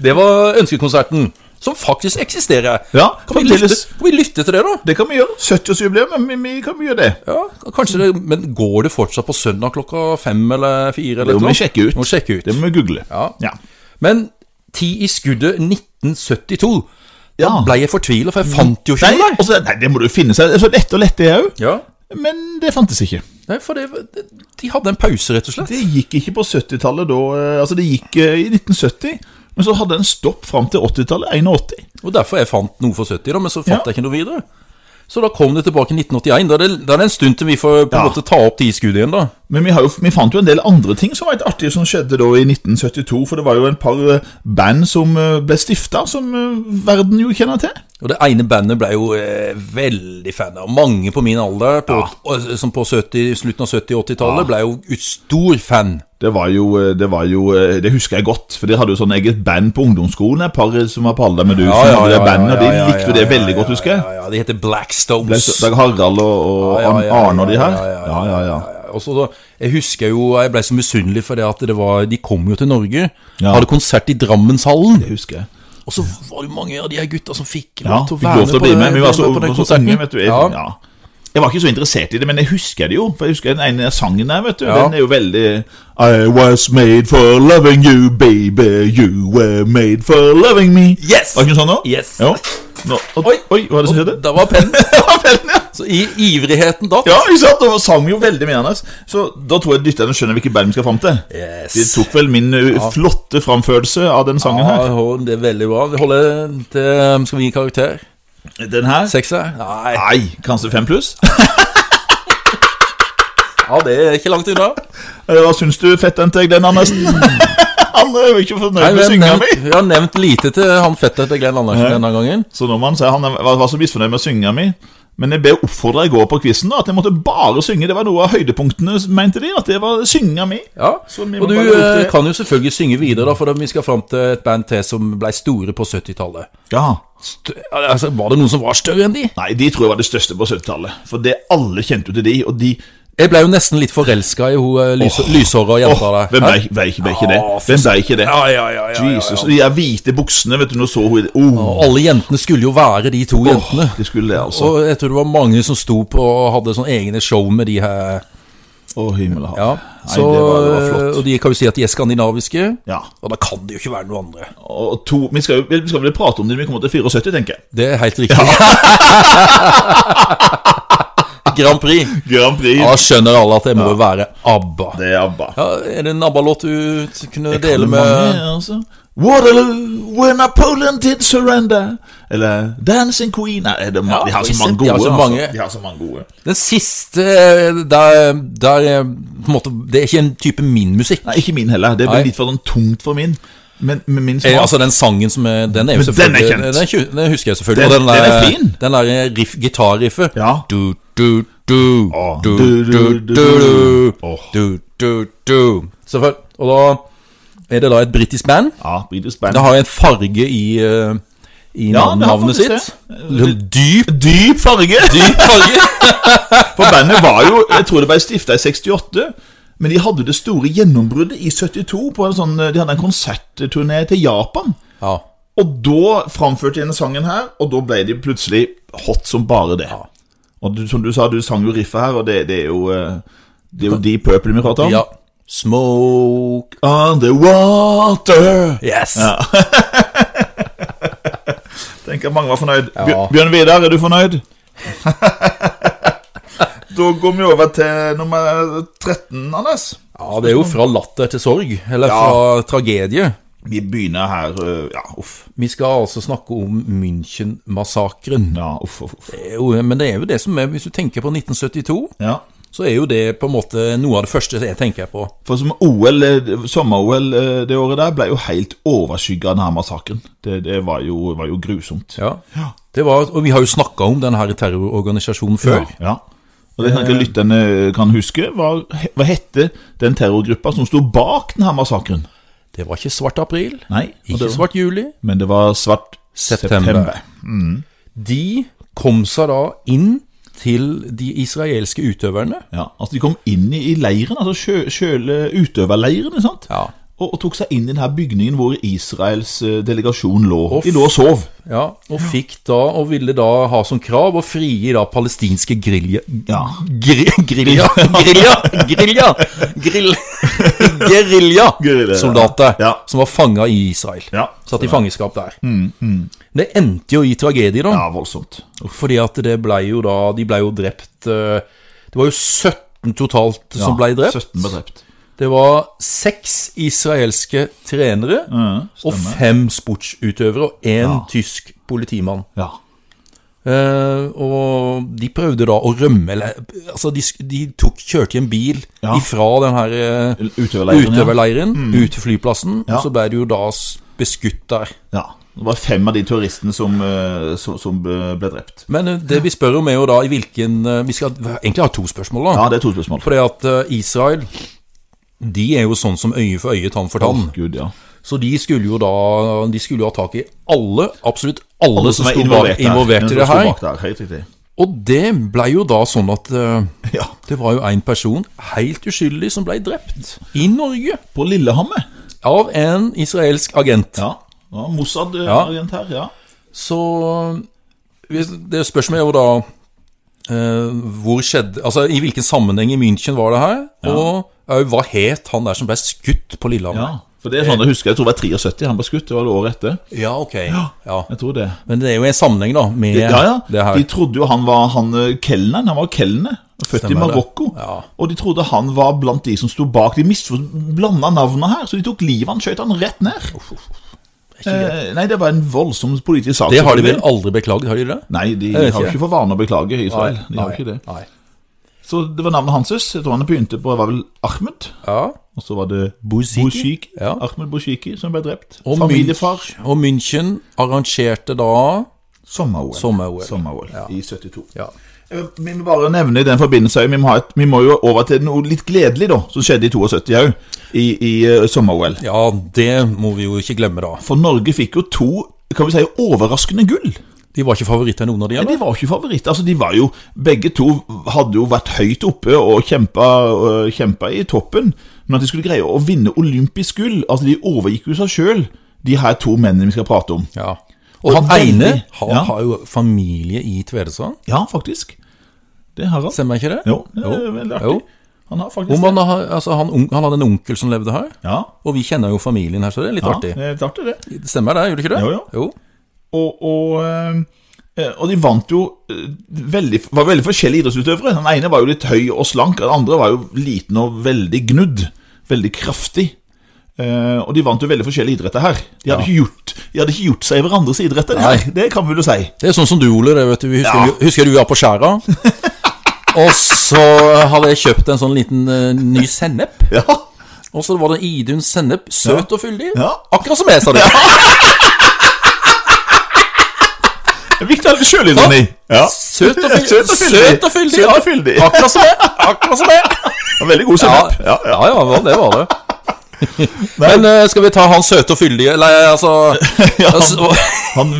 S1: Det var ønskekonserten, som faktisk eksisterer.
S2: Ja,
S1: Kan vi,
S2: fremdeles.
S1: lytte, kan vi lytte til det, da?
S2: Det kan vi gjøre. 70-årsjubileum, men vi, vi kan vi gjøre det.
S1: Ja, kanskje det, Men går det fortsatt på søndag klokka fem eller fire? Eller
S2: Det må
S1: noe?
S2: vi sjekke ut.
S1: Må sjekke ut.
S2: Det må vi google.
S1: Ja.
S2: ja.
S1: Men Ti i skuddet 1972. Da
S2: Ja.
S1: ble jeg fortvila, for jeg fant jo ikke
S2: Nei,
S1: noe der.
S2: altså, nei, det må du finne seg. Så lette og lette er jeg òg.
S1: Ja,
S2: Men det fantes ikke.
S1: Nei, for det, det- de hadde en pause, rett og slett.
S2: Det gikk ikke på 70-tallet da. eh, Altså, det gikk eh, i 1970, men så hadde en stopp fram til 80-tallet. 81.
S1: Og derfor jeg fant noe for 70, da, men så fant
S2: Ja.
S1: jeg ikke noe videre. Så da kom det tilbake i 1981. Da er det, da er det en stund til vi får på en
S2: Ja.
S1: måte ta opp de skuddene igjen, da.
S2: Men vi, har jo, vi fant jo en del andre ting som var litt artige som skjedde da i 1972. For det var jo en par eh, band som eh, ble stifta, som eh, verden jo kjenner til.
S1: Og det ene bandet ble jo eh, veldig fan av. Mange på min alder, på, og- eh, som på 70, slutten av 70- og 80-tallet, ble jo ut stor fan.
S2: Det var jo, eh, det var jo eh, Det husker jeg godt, for de hadde jo sånn eget band på ungdomsskolen. Et par eh, som var på alder med du, som hadde det bandet, og de likte jo det veldig godt, husker jeg.
S1: Ja, ja, ja, De heter Black
S2: Ble
S1: Stones.
S2: så- Dag Harald og, og
S1: Ja, ja, ja,
S2: Arne og de her.
S1: ja, ja, ja,
S2: Ja, ja, ja.
S1: Og så da, jeg husker jo, jeg ble så misunnelig for det at det var, de kom jo til Norge,
S2: Ja.
S1: hadde konsert i Drammenshallen,
S2: Det husker jeg.
S1: og så var det mange av de her gutta som fikk lov
S2: Ja,
S1: til å
S2: fikk
S1: være
S2: lov til å bli
S1: det-
S2: med. Vi var så,
S1: på den
S2: var så
S1: konserten.
S2: unge, vet du. Jeg,
S1: Ja.
S2: ja. jeg var ikke så interessert i det, men jeg husker det jo. For jeg husker den ene sangen der, vet du.
S1: Ja.
S2: Den er jo veldig I was made for loving you, baby. You were made for loving me.
S1: Yes!
S2: Var det ikke sånn nå?
S1: Yes.
S2: Jo. Nå, og, oi, oi, hva er det som skjedde?
S1: Da var pennen.
S2: Ja, vel, ja.
S1: Så i ivrigheten datt.
S2: Ja, ikke sant? Og sang jo veldig med hennes. Så da tror jeg lytterne skjønner hvilket band vi skal fram til.
S1: Yes.
S2: De tok vel min ø, flotte framførelse av den sangen
S1: Ja, Håvard, det er veldig bra. Vi holder til Skal vi gi karakter?
S2: her. Den her
S1: Sekser? Nei.
S2: Nei, kanskje fem pluss?
S1: Ja, det er ikke langt unna.
S2: Eh, Hva syns du, fettenteg, den Andersen? Han er jo ikke fornøyd med
S1: vi
S2: synginga
S1: har
S2: mi.
S1: nevnt- vi har nevnt lite til han fetter til Glenn Andersen denne gangen.
S2: Så Norman sier han er- var var så misfornøyd med synginga mi. Men jeg ble oppfordra i går på quizen at jeg måtte bare synge. Det var noe av høydepunktene, mente de. At det var synginga mi.
S1: Ja,
S2: Så vi må
S1: og du
S2: bare rope
S1: eh,
S2: det.
S1: kan jo selvfølgelig synge videre, da, for da vi skal fram til et band til som ble store på 70-tallet.
S2: Ja.
S1: St- Altså, var det noen som var større enn de?
S2: Nei, de tror jeg var det største på 70-tallet. For det alle kjente jo til de, og de
S1: Jeg ble jo nesten litt forelska i hun eh, lys
S2: Åh.
S1: lyshåra jenta
S2: Åh,
S1: der.
S2: Hvem ble
S1: Hæ?
S2: ble ikke ble ikke det?
S1: Ja,
S2: Hvem ble ikke det?
S1: Ja, ja, ja, ja, ja,
S2: Jesus,
S1: ja.
S2: og de der hvite buksene, vet du, nå så hun i det oh,
S1: Og alle jentene skulle jo være de to jentene.
S2: De skulle det, altså.
S1: Og jeg tror det var mange som sto på og hadde sånne egne show med de her.
S2: Å, himmel og hav.
S1: Ja, eh,
S2: Nei, det var, det var flott.
S1: Og de kan jo si at de er skandinaviske.
S2: Ja.
S1: Og da kan det jo ikke være noen andre.
S2: Og to, vi, skal, jo- vi skal vel prate om det når vi kommer til 74, tenker jeg.
S1: Det er helt riktig. Grand Prix.
S2: Grand Prix.
S1: Da skjønner alle at det må jo være ABBA.
S2: Det er ABBA.
S1: Ja, er det en ABBA-låt du t- kunne dele
S2: Mange,
S1: med
S2: altså. Waterloo, when Napoleon did surrender. Eller Dancing Queen. Nei, det er ma
S1: Ja,
S2: de har
S1: for
S2: så mange
S1: eksempel,
S2: gode.
S1: de har så mange.
S2: Altså. De har så mange gode.
S1: Den siste eh, der, der eh, på en måte, Det er ikke en type min musikk.
S2: Nei, ikke min heller. Det ble
S1: Nei.
S2: litt for sånn tungt for min. Men men min smak
S1: Eh, altså Den sangen som er Den er jo
S2: Men
S1: selvfølgelig
S2: den er kjent.
S1: Den, kju- den husker jeg selvfølgelig.
S2: Den-
S1: og den,
S2: den
S1: der,
S2: er fin.
S1: Den der riff, gitarriffet.
S2: Ja.
S1: Du, du, du,
S2: Åh.
S1: du, du,
S2: Du, du,
S1: du,
S2: du,
S1: du,
S2: Åh.
S1: du, du, du. Selvfølgelig. Og da er det da et britisk band.
S2: Ja, britisk band.
S1: Det har en farge i, eh, i
S2: Ja, det har
S1: navnet
S2: faktisk
S1: sitt.
S2: det.
S1: Litt Dyp,
S2: Dyp farge!
S1: dyp farge.
S2: For bandet var jo Jeg tror det ble stifta i 68. Men de hadde det store gjennombruddet i 72. På en sånn, de hadde en konsertturné til Japan.
S1: ja.
S2: Og da framførte de denne sangen her, og da ble de plutselig hot som bare det. Og du, som du sa, du sang jo riffet her, og det, det er jo eh, Det er jo de pøplene vi prater om.
S1: ja. Smoke
S2: Underwater!
S1: Yes.
S2: Tenker mange var fornøyd. Bjør- Bjørn Vidar, er du fornøyd? da går vi over til nummer 13, Anders.
S1: Ja, det er jo fra latter til sorg. Eller
S2: Ja.
S1: fra tragedie.
S2: Vi begynner her eh, Ja, uff.
S1: Vi skal altså snakke om München-massakren.
S2: Ja, uff, uff, uff.
S1: Det er jo- Men det er jo det som er Hvis du tenker på 1972,
S2: Ja.
S1: så er jo det på en måte noe av det første jeg tenker på.
S2: For som OL, eh, sommer-OL eh, det året der ble jo helt overskygga av denne massakren. Det, det var, jo, var jo grusomt.
S1: Ja. Det var, og vi har jo snakka om den her terrororganisasjonen før. Eh.
S2: Ja. Og det kan ikke lytterne eh, kan huske. Hva, hva hette den terrorgruppa som sto bak denne massakren?
S1: Det var ikke svart april,
S2: Nei, og
S1: ikke
S2: det,
S1: svart juli.
S2: men det var svart
S1: September.
S2: september.
S1: De kom seg da inn til de israelske utøverne.
S2: Ja, altså De kom inn i, i leiren, altså sjø, sjøle utøverleiren. ikke sant?
S1: Ja.
S2: Og, og tok seg inn i denne bygningen hvor Israels eh, delegasjon lå.
S1: Og
S2: De lå og sov.
S1: Ja, og fikk da, og ville da ha som krav å frigi da palestinske grilja...
S2: Ja.
S1: Gri, grilja, grilja, grilja, grill, gerilja
S2: Guerilla,
S1: soldater
S2: ja.
S1: som var fanga i Israel.
S2: Ja. Mm,
S1: Satt i fangenskap der. Det endte jo i tragedie, da.
S2: Ja, voldsomt.
S1: Fordi at det ble jo da De ble jo drept eh, Det var jo 17 totalt som ble drept.
S2: 17 ble drept.
S1: Det var seks israelske trenere
S2: Mm,
S1: og fem sportsutøvere og én tysk politimann.
S2: Ja.
S1: Eh, og de prøvde da å rømme, eller altså de, sk- de tok, kjørte i en bil
S2: Ja.
S1: ifra den her eh,
S2: Utøverleiren. ja. Mm.
S1: utøverleiren ut til flyplassen,
S2: Ja.
S1: og så ble de jo da s- beskutt der.
S2: Ja. Det var fem av de terroristene som, eh, som, som ble ble drept.
S1: Men eh, det vi spør om er jo da i hvilken eh, Vi skal egentlig ha to spørsmål, da.
S2: Ja, det er to spørsmål.
S1: Fordi at eh, Israel de er jo sånn som øye for øye, tann for tann.
S2: Gud, ja.
S1: Så de skulle jo da De skulle jo ha tak i alle, absolutt alle,
S2: Alle
S1: som,
S2: som er
S1: sto bak-
S2: involvert, der.
S1: involvert i
S2: Som
S1: det
S2: sto
S1: her.
S2: bak der, Helt riktig.
S1: Og det ble jo da sånn at eh,
S2: Ja.
S1: det var jo en person helt uskyldig som ble drept i Norge
S2: På Lillehammer.
S1: av en israelsk agent.
S2: Ja. ja
S1: Ja.
S2: Mossad-agent her, ja.
S1: Så hvis- det spørsmålet er jo da eh, hvor skjedde Altså i hvilken sammenheng i München var det her? Og eh, hva het han der som ble skutt på
S2: ja.
S1: Lillehammer?
S2: For det er sånn jeg husker, jeg tror det var 73 han ble skutt. Det var det året etter.
S1: Ja, ok. Ja.
S2: Jeg tror det.
S1: Men det er jo en sammenheng, da, med
S2: Ja, ja.
S1: det her.
S2: De trodde jo han var han eh, kelneren. Han var kelner, født i
S1: Stemmer det.
S2: Marokko.
S1: Ja.
S2: Og de trodde han var blant de som sto bak. De misforstod- blanda navnene her, så de tok livet av han, skjøt han rett ned. Eh, nei, det var en voldsom politisk sak.
S1: Det har de vel
S2: selvfølgelig.
S1: aldri beklaget, har de det?
S2: Nei, de
S1: vet
S2: har jo
S1: ikke.
S2: ikke for vane å beklage i Israel. de har jo ikke det.
S1: Nei.
S2: Så det var navnet hans. Jeg tror han begynte på det var vel Ahmed.
S1: Ja.
S2: Og så var det
S1: Bouziki.
S2: Bouziki,
S1: Ja.
S2: Ahmed Bouziki som ble drept.
S1: Og
S2: Familiefar.
S1: Og München arrangerte da
S2: Sommer-OL.
S1: Sommer-OL.
S2: Sommer-OL I 72.
S1: Ja.
S2: Eh, Vi må bare nevne i den forbindelse vi må, ha et, vi må jo over til noe litt gledelig, da, som skjedde i 72 òg, i, i eh, sommer-OL.
S1: ja, det må vi jo ikke glemme, da.
S2: For Norge fikk jo to kan vi si, overraskende gull.
S1: De var ikke favoritter, noen av de?
S2: Men
S1: Eller?
S2: de var jo ikke favoritter. Altså, de var jo, begge to hadde jo vært høyt oppe og kjempa, øh, kjempa i toppen. Men at de skulle greie å vinne olympisk gull Altså, de overgikk jo seg sjøl, de her to mennene vi skal prate om.
S1: Ja. Og
S2: Og
S1: han
S2: veldig-
S1: ene har,
S2: Ja.
S1: har jo familie i Tvedestrand,
S2: Ja, faktisk. Det har han.
S1: stemmer ikke det?
S2: Jo, det er veldig artig.
S1: Jo.
S2: Han har faktisk
S1: Om han, har- altså, han, un- han hadde en onkel som levde her,
S2: det. Ja,
S1: og vi kjenner jo familien her, så det er litt
S2: ja
S1: artig.
S2: det er artig, det.
S1: Det Stemmer det, gjør det ikke det?
S2: Jo, jo.
S1: jo.
S2: Og, og, øh, og de vant jo øh, veldig, Var veldig forskjellige idrettsutøvere. Den ene var jo litt høy og slank, den andre var jo liten og veldig gnudd. Veldig kraftig. Eh, og de vant jo veldig forskjellige idretter her. De hadde, ikke, gjort, de hadde ikke gjort seg i hverandres idretter. Det,
S1: Nei.
S2: det kan vi jo si.
S1: Det er sånn som du, Ole. Det, vet du. Vi husker,
S2: Ja.
S1: du, husker du vi var på skjæra? og så hadde jeg kjøpt en sånn liten eh, ny sennep.
S2: Ja,
S1: Og så var det Idun sennep, søt og fyldig.
S2: Ja.
S1: Akkurat som jeg sa det.
S2: det er viktig å ha litt sjølironi. Ja.
S1: Søt og fyldig.
S2: Søt og fyldig.
S1: Søt og fyldig.
S2: Søt og fyldig.
S1: Akkurat som jeg. Akkurat som jeg.
S2: Og Veldig god
S1: Ja,
S2: sennep.
S1: ja, ja, hva- det var det. Men eh, skal vi ta han søte og fyldige Eller altså,
S2: Ja.
S1: altså
S2: Han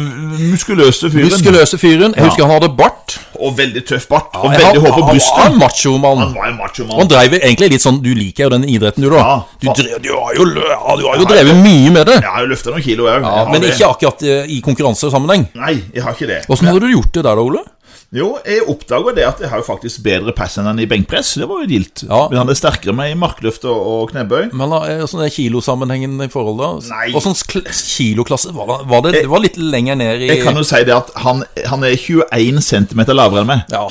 S2: muskuløse fyren.
S1: Muskuløse fyren. Jeg husker han hadde bart.
S2: Og veldig tøff bart. Og
S1: Han-
S2: veldig hår på
S1: Han var
S2: brystet.
S1: en machomann.
S2: Han var en machomann.
S1: Og Han drev egentlig litt sånn Du liker jo den idretten, du, da.
S2: Ja.
S1: du, drev, du har jo, lø- ja, du har jo drevet mye med det.
S2: Jeg har jo løfta noen kilo, jeg.
S1: Ja, men ikke akkurat eh, i konkurransesammenheng.
S2: Nei, jeg har ikke det.
S1: Åssen hadde du gjort det der, da, Ole?
S2: Jo, jeg oppdaga det at jeg har jo faktisk bedre pass enn han i benkpress. Det var jo gildt.
S1: Ja.
S2: Men han er sterkere med i markløft og, og knebøy.
S1: Men da, eh, Åssen er kilosammenhengen i forhold, da?
S2: Nei.
S1: Åssen kl- kiloklasse var det, var det? Det var litt lenger ned i
S2: Jeg kan jo si det at han, han er 21 cm lavere enn meg.
S1: Ja.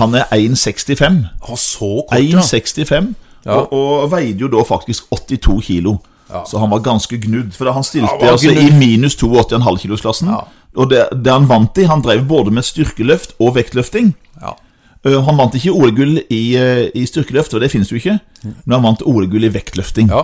S2: Han er 1,65.
S1: Å, så kort, ja.
S2: 1,65 og, og veide jo da faktisk 82 kilo. Så han var ganske gnudd. For han stilte
S1: var
S2: altså
S1: gnudd.
S2: i minus 82,5 kilosklassen. Og det, det han vant i Han drev både med styrkeløft og vektløfting.
S1: ja.
S2: Eh, Han vant ikke OL-gull i, eh, i styrkeløft, og det finnes jo ikke. Men han vant OL-gull i vektløfting.
S1: Ja.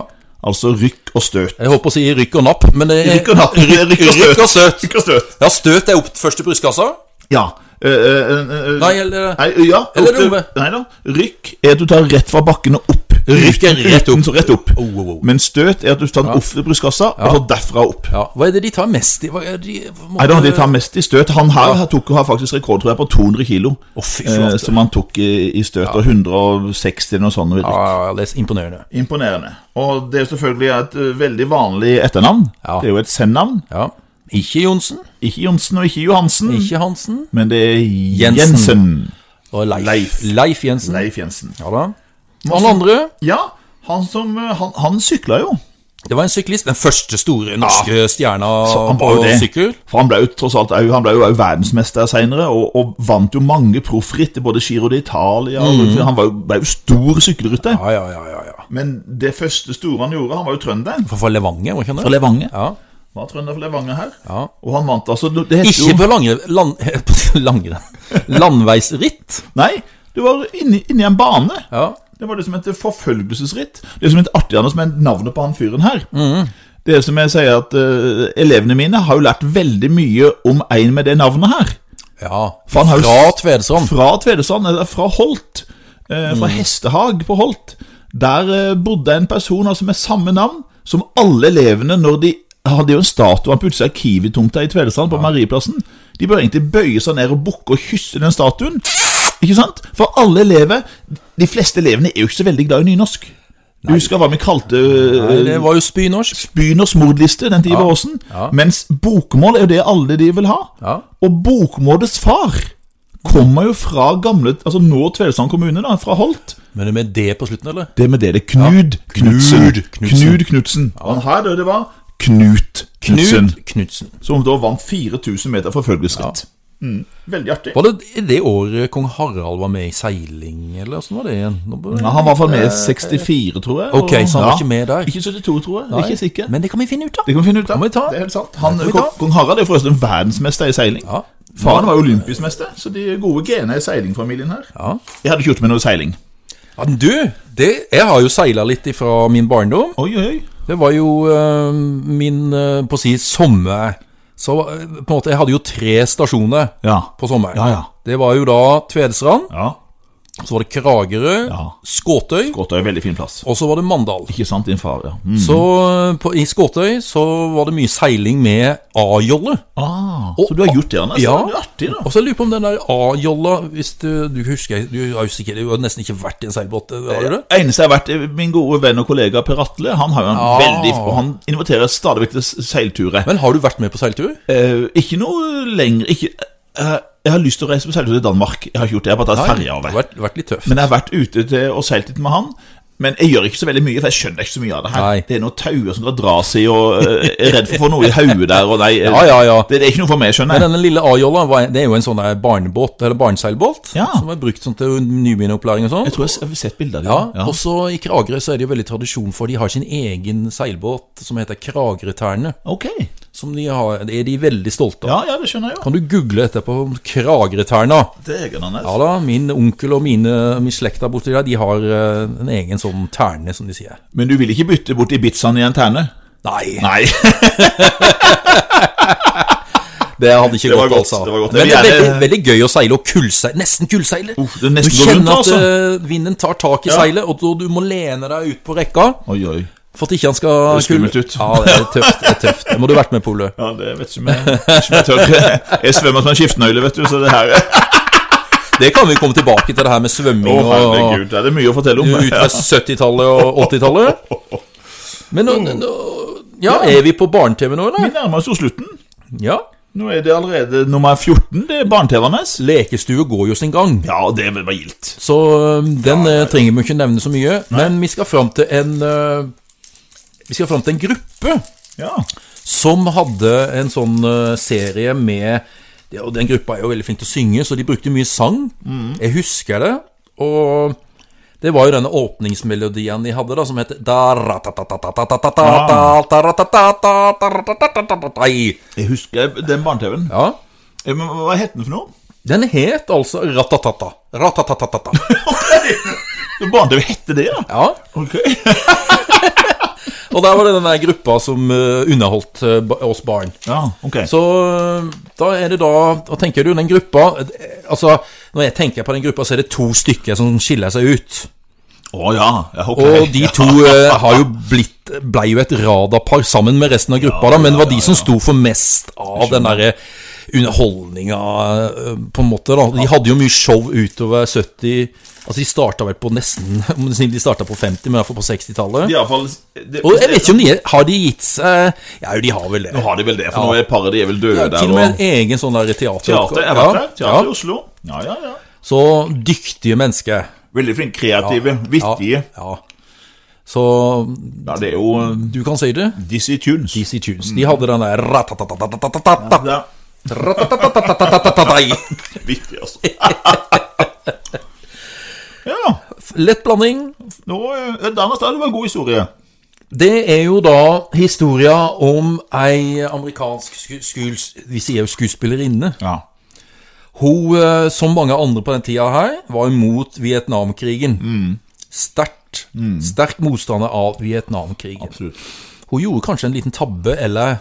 S2: Altså rykk og støt.
S1: Jeg holdt på å si rykk og napp, men det
S2: Rykk og napp. Rykk og støt.
S1: Rykk og støt.
S2: Rykk og støt.
S1: Ja, støt er opp først i brystkassa.
S2: Ja. Eh, eh, eh, eh,
S1: Nei, eller
S2: Nei, ja,
S1: Eller
S2: opp til-
S1: Ove.
S2: Nei da. Rykk er at du tar rett fra bakken og opp.
S1: Rykk er rett
S2: Uten-
S1: opp.
S2: så rett opp.
S1: Oh, oh, oh.
S2: Men støt er at du tar den opp til brystkassa, og så derfra opp.
S1: ja. Hva er det de tar mest i? Hva er de, hva
S2: Nei, da,
S1: måtte-
S2: de tar mest i støt. Han her tok, har faktisk rekord tror jeg, på 200 kilo.
S1: Å, fy flate.
S2: eh, som han tok i, i støt, og 160 eller noe sånt. ved rykk.
S1: ja, ja, ja, det er imponerende.
S2: Imponerende. Og det er selvfølgelig et ø, veldig vanlig etternavn.
S1: Ja.
S2: Det er jo et sennavn.
S1: Ja. Ikke Johnsen,
S2: Ikke Johnsen og ikke Johansen,
S1: ikke Hansen.
S2: men det er Jensen.
S1: Og Leif.
S2: Leif.
S1: Leif Jensen.
S2: Leif Jensen.
S1: Ja da. Han andre,
S2: Ja, han som ø, Han, han sykla jo.
S1: det var en syklist. Den første store norske stjerna
S2: Han
S1: på
S2: var jo det.
S1: sykkel.
S2: For han ble jo tross alt au- Han ble jo au verdensmester senere, og, og vant jo mange proffritt. Både Giro d'Italia og Han var jo, ble jo stor sykkelrytter.
S1: Mm. Ja, ja, ja. ja, ja.
S2: Men det første store han gjorde Han var jo trønder.
S1: Fra- Fra Levanger, var ikke han det?
S2: Levanger.
S1: Ja.
S2: Han var trønder fra Levanger her.
S1: Ja.
S2: Og han vant altså Det heter
S1: Ikke
S2: jo
S1: på langre, land, langrenn. Landveisritt.
S2: Nei, du var inni, inni en bane.
S1: Ja.
S2: Det var det som heter forfølgelsesritt. Det som er litt artig, Anders, med navnet på han fyren her Det er som jeg sier at eh, Elevene mine har jo lært veldig mye om en med det navnet her.
S1: ja.
S2: For han har jo-
S1: Fra Tvedestrand. Mm.
S2: Fra Tvedestrand, eller fra Holt. eh, Fra Hestehag på Holt. Der eh, bodde en person altså med samme navn som alle elevene når de hadde jo en statue han puttet seg i Kiwi-tomta i Tvedestrand, på Marieplassen. De bør egentlig bøye seg ned og bukke og kysse den statuen. Ikke sant? For alle elever De fleste elevene er jo ikke så veldig glad i nynorsk. Du husker hva vi kalte eh,
S1: Nei, det var jo spynorsk.
S2: Byners mordliste, den Ivar Aasen.
S1: Ja.
S2: Mens bokmål er jo det alle de vil ha.
S1: Ja.
S2: Og bokmålets far kommer jo fra gamle Altså nå Tvedestrand kommune, da, fra Holt.
S1: Men det med det på slutten, eller?
S2: Det med det det er Knud Knudsen.
S1: Knud Knudsen.
S2: Knud Knudsen. Og han her, det, det var Knut Knudsen.
S1: Knut Knutsen.
S2: Som da vant 4000 meter forfølgelsesritt. Mm. Veldig artig.
S1: Var det i det året kong Harald var med i seiling, eller åssen var det igjen? Nå bør jeg-
S2: Ja, han var i hvert fall med i 64, tror jeg.
S1: Eh, Ok, så han var ikke med der.
S2: Ikke 72, tror jeg. Ikke sikker.
S1: Men det kan vi finne ut av.
S2: Det kan vi finne ut av.
S1: må vi ta.
S2: Det er helt sant. Han,
S1: Det kan vi
S2: kong,
S1: ta.
S2: kong Harald er jo forresten verdensmester i seiling.
S1: Ja.
S2: Faren var jo olympisk mester, så de er gode gener i seilingfamilien her.
S1: Ja.
S2: Jeg hadde ikke gjort meg noe seiling.
S1: ja, men du, det, jeg har jo seila litt ifra min barndom.
S2: Oi, oi, oi.
S1: Det var jo eh, min, eh, på å si, sommer. Så eh, på en måte, jeg hadde jo tre stasjoner
S2: Ja.
S1: på sommeren.
S2: Ja, ja.
S1: Det var jo da Tvedestrand,
S2: ja.
S1: så var det Kragerø,
S2: Ja.
S1: Skåtøy,
S2: Skåtøy er veldig fin plass.
S1: og så var det Mandal.
S2: Ikke sant, din far, ja. Mm.
S1: Så eh, på, i Skåtøy så var det mye seiling med A-jolle.
S2: Ah, så du har gjort det, Anders?
S1: Ja.
S2: Det er artig, da.
S1: Og så lurer jeg på om den der A-jolla Hvis du, du husker Du har jo sikkert du har nesten ikke vært i en seilbåt, eh, har du det?
S2: Eneste jeg har vært, eh, min gode venn og kollega Per Atle, han har jo en
S1: Ah.
S2: veldig Og han inviterer stadig vekk til s- seilturer.
S1: Men har du vært med på seiltur?
S2: Eh, ikke noe lenger ikke, eh, Jeg har lyst til å reise på seiltur til Danmark. Jeg har ikke gjort det, jeg har bare tatt ferja
S1: du
S2: over.
S1: har vært, vært litt tøff.
S2: Men jeg har vært ute til og seilt litt med han. Men jeg gjør ikke så veldig mye, for jeg skjønner ikke så mye av det her.
S1: Nei.
S2: Det er noen tauer som drar dras i, og eh, er redd for å få noe i hodet der, og nei eh,
S1: Ja, ja, ja.
S2: Det, det er ikke noe for meg, skjønner
S1: Men
S2: jeg.
S1: denne lille A-jolla var en- Det er jo en sånn der barnebåt, eller barneseilbåt,
S2: Ja.
S1: som er brukt sånn til nybegynneropplæring og sånn.
S2: Jeg tror jeg s- jeg har sett bilder av det.
S1: Ja, og så I Kragerø så er det jo veldig tradisjon for De har sin egen seilbåt som heter Kragerøterne.
S2: Ok.
S1: Som de har, det er de veldig stolte av.
S2: Ja, ja, det skjønner jeg jo.
S1: Kan du google etterpå om Kragerøterna?
S2: Det er egen
S1: Ja
S2: Anders.
S1: da, min onkel og mine, min slekt der borte der, de har eh, en egen sånn terne, som de sier.
S2: Men du vil ikke bytte bort Ibizaen i en terne?
S1: Nei,
S2: Nei.
S1: det hadde ikke
S2: Det var
S1: gått,
S2: godt,
S1: altså.
S2: det var godt.
S1: Men det er
S2: Jeg vil
S1: veldig,
S2: gjerne-
S1: veldig gøy å seile, og kullseil, nesten kullseiler.
S2: Uff, det er
S1: du
S2: nesten går rundt,
S1: kjenner at
S2: altså.
S1: eh, vinden tar tak i
S2: Ja.
S1: seilet, og da- du må lene deg ut på rekka
S2: Oi, oi.
S1: for at ikke han skal
S2: Det ser skummelt ut.
S1: Ja, det er tøft. det er tøft. Det må du ha vært med på, Ole.
S2: Ja, det vet ikke om jeg, ikke om jeg tør. Jeg svømmer som en skiftenøyle, vet du, så det her
S1: Det kan vi komme tilbake til, det her med svømming
S2: Å,
S1: og
S2: herregud. Det er det mye å fortelle om.
S1: ut fra 70-tallet og 80-tallet. Men nå, nå ja, er vi på barne-TV nå,
S2: Vi
S1: eller?
S2: nærmer oss jo slutten.
S1: Ja.
S2: Nå er det allerede nummer 14, det er barne-TV-ene.
S1: Lekestue går jo sin gang.
S2: Ja, det var gildt.
S1: Så øhm, den eh, trenger vi ikke nevne så mye. Men vi skal fram til en øh, Vi skal fram til en gruppe
S2: Ja.
S1: som hadde en sånn øh, serie med ja, Og den gruppa er jo veldig flink til å synge, så de brukte mye sang. Jeg husker det. Og det var jo denne åpningsmelodien de hadde, da, som het Ja.
S2: Jeg husker den barne-TV-en. Eh, men Hva het den for noe?
S1: Den het altså Ratatata. Ratatatata.
S2: Barne-TV hette det, da?
S1: Ja.
S2: Ok.
S1: Og der var det den der gruppa som eh, underholdt eh, ba- oss barn.
S2: Ja, ok.
S1: Så eh, da er det da Hva tenker du? Den gruppa eh, Altså, når jeg tenker på den gruppa, så er det to stykker som skiller seg ut.
S2: Å ja, ja, ok.
S1: Og de to eh, har jo blitt Blei jo et radarpar sammen med resten av gruppa, da, men det var de som sto for mest av den derre underholdninga, eh, på en måte. da De hadde jo mye show utover 70 Altså, de starta vel på nesten om du sier De starta på 50, men iallfall på 60-tallet.
S2: I alle fall, det,
S1: Og jeg vet ikke om de er- Har de gitt seg Ja, jo, de har vel det.
S2: Nå har de vel det, for
S1: Ja.
S2: nå er paret de er vel døde
S1: Ja,
S2: der.
S1: til og med en egen sånn der teater...
S2: Teater, jeg har vært
S1: Ja,
S2: der. Teater i
S1: ja.
S2: Oslo. Ja, ja, ja.
S1: Så dyktige mennesker.
S2: Veldig flinke, kreative, vittige.
S1: Ja, ja. Så
S2: Ja, det er jo eh,
S1: du kan si det.
S2: Dizzie Tunes.
S1: DC Tunes. De hadde den der
S2: Det er
S1: ratatatatatatatatatatatatatai.
S2: vittig, altså. ja.
S1: Lett blanding.
S2: Nå, eh, Anders, det var en god historie.
S1: Det er jo da historia om ei amerikansk sku, skues- Vi sier jo skuespillerinne.
S2: Ja.
S1: Hun, eh, som mange andre på den tida her, var imot Vietnamkrigen.
S2: Mm.
S1: Sterkt. Sterk motstander av Vietnamkrigen.
S2: Absolutt.
S1: Hun gjorde kanskje en liten tabbe, eller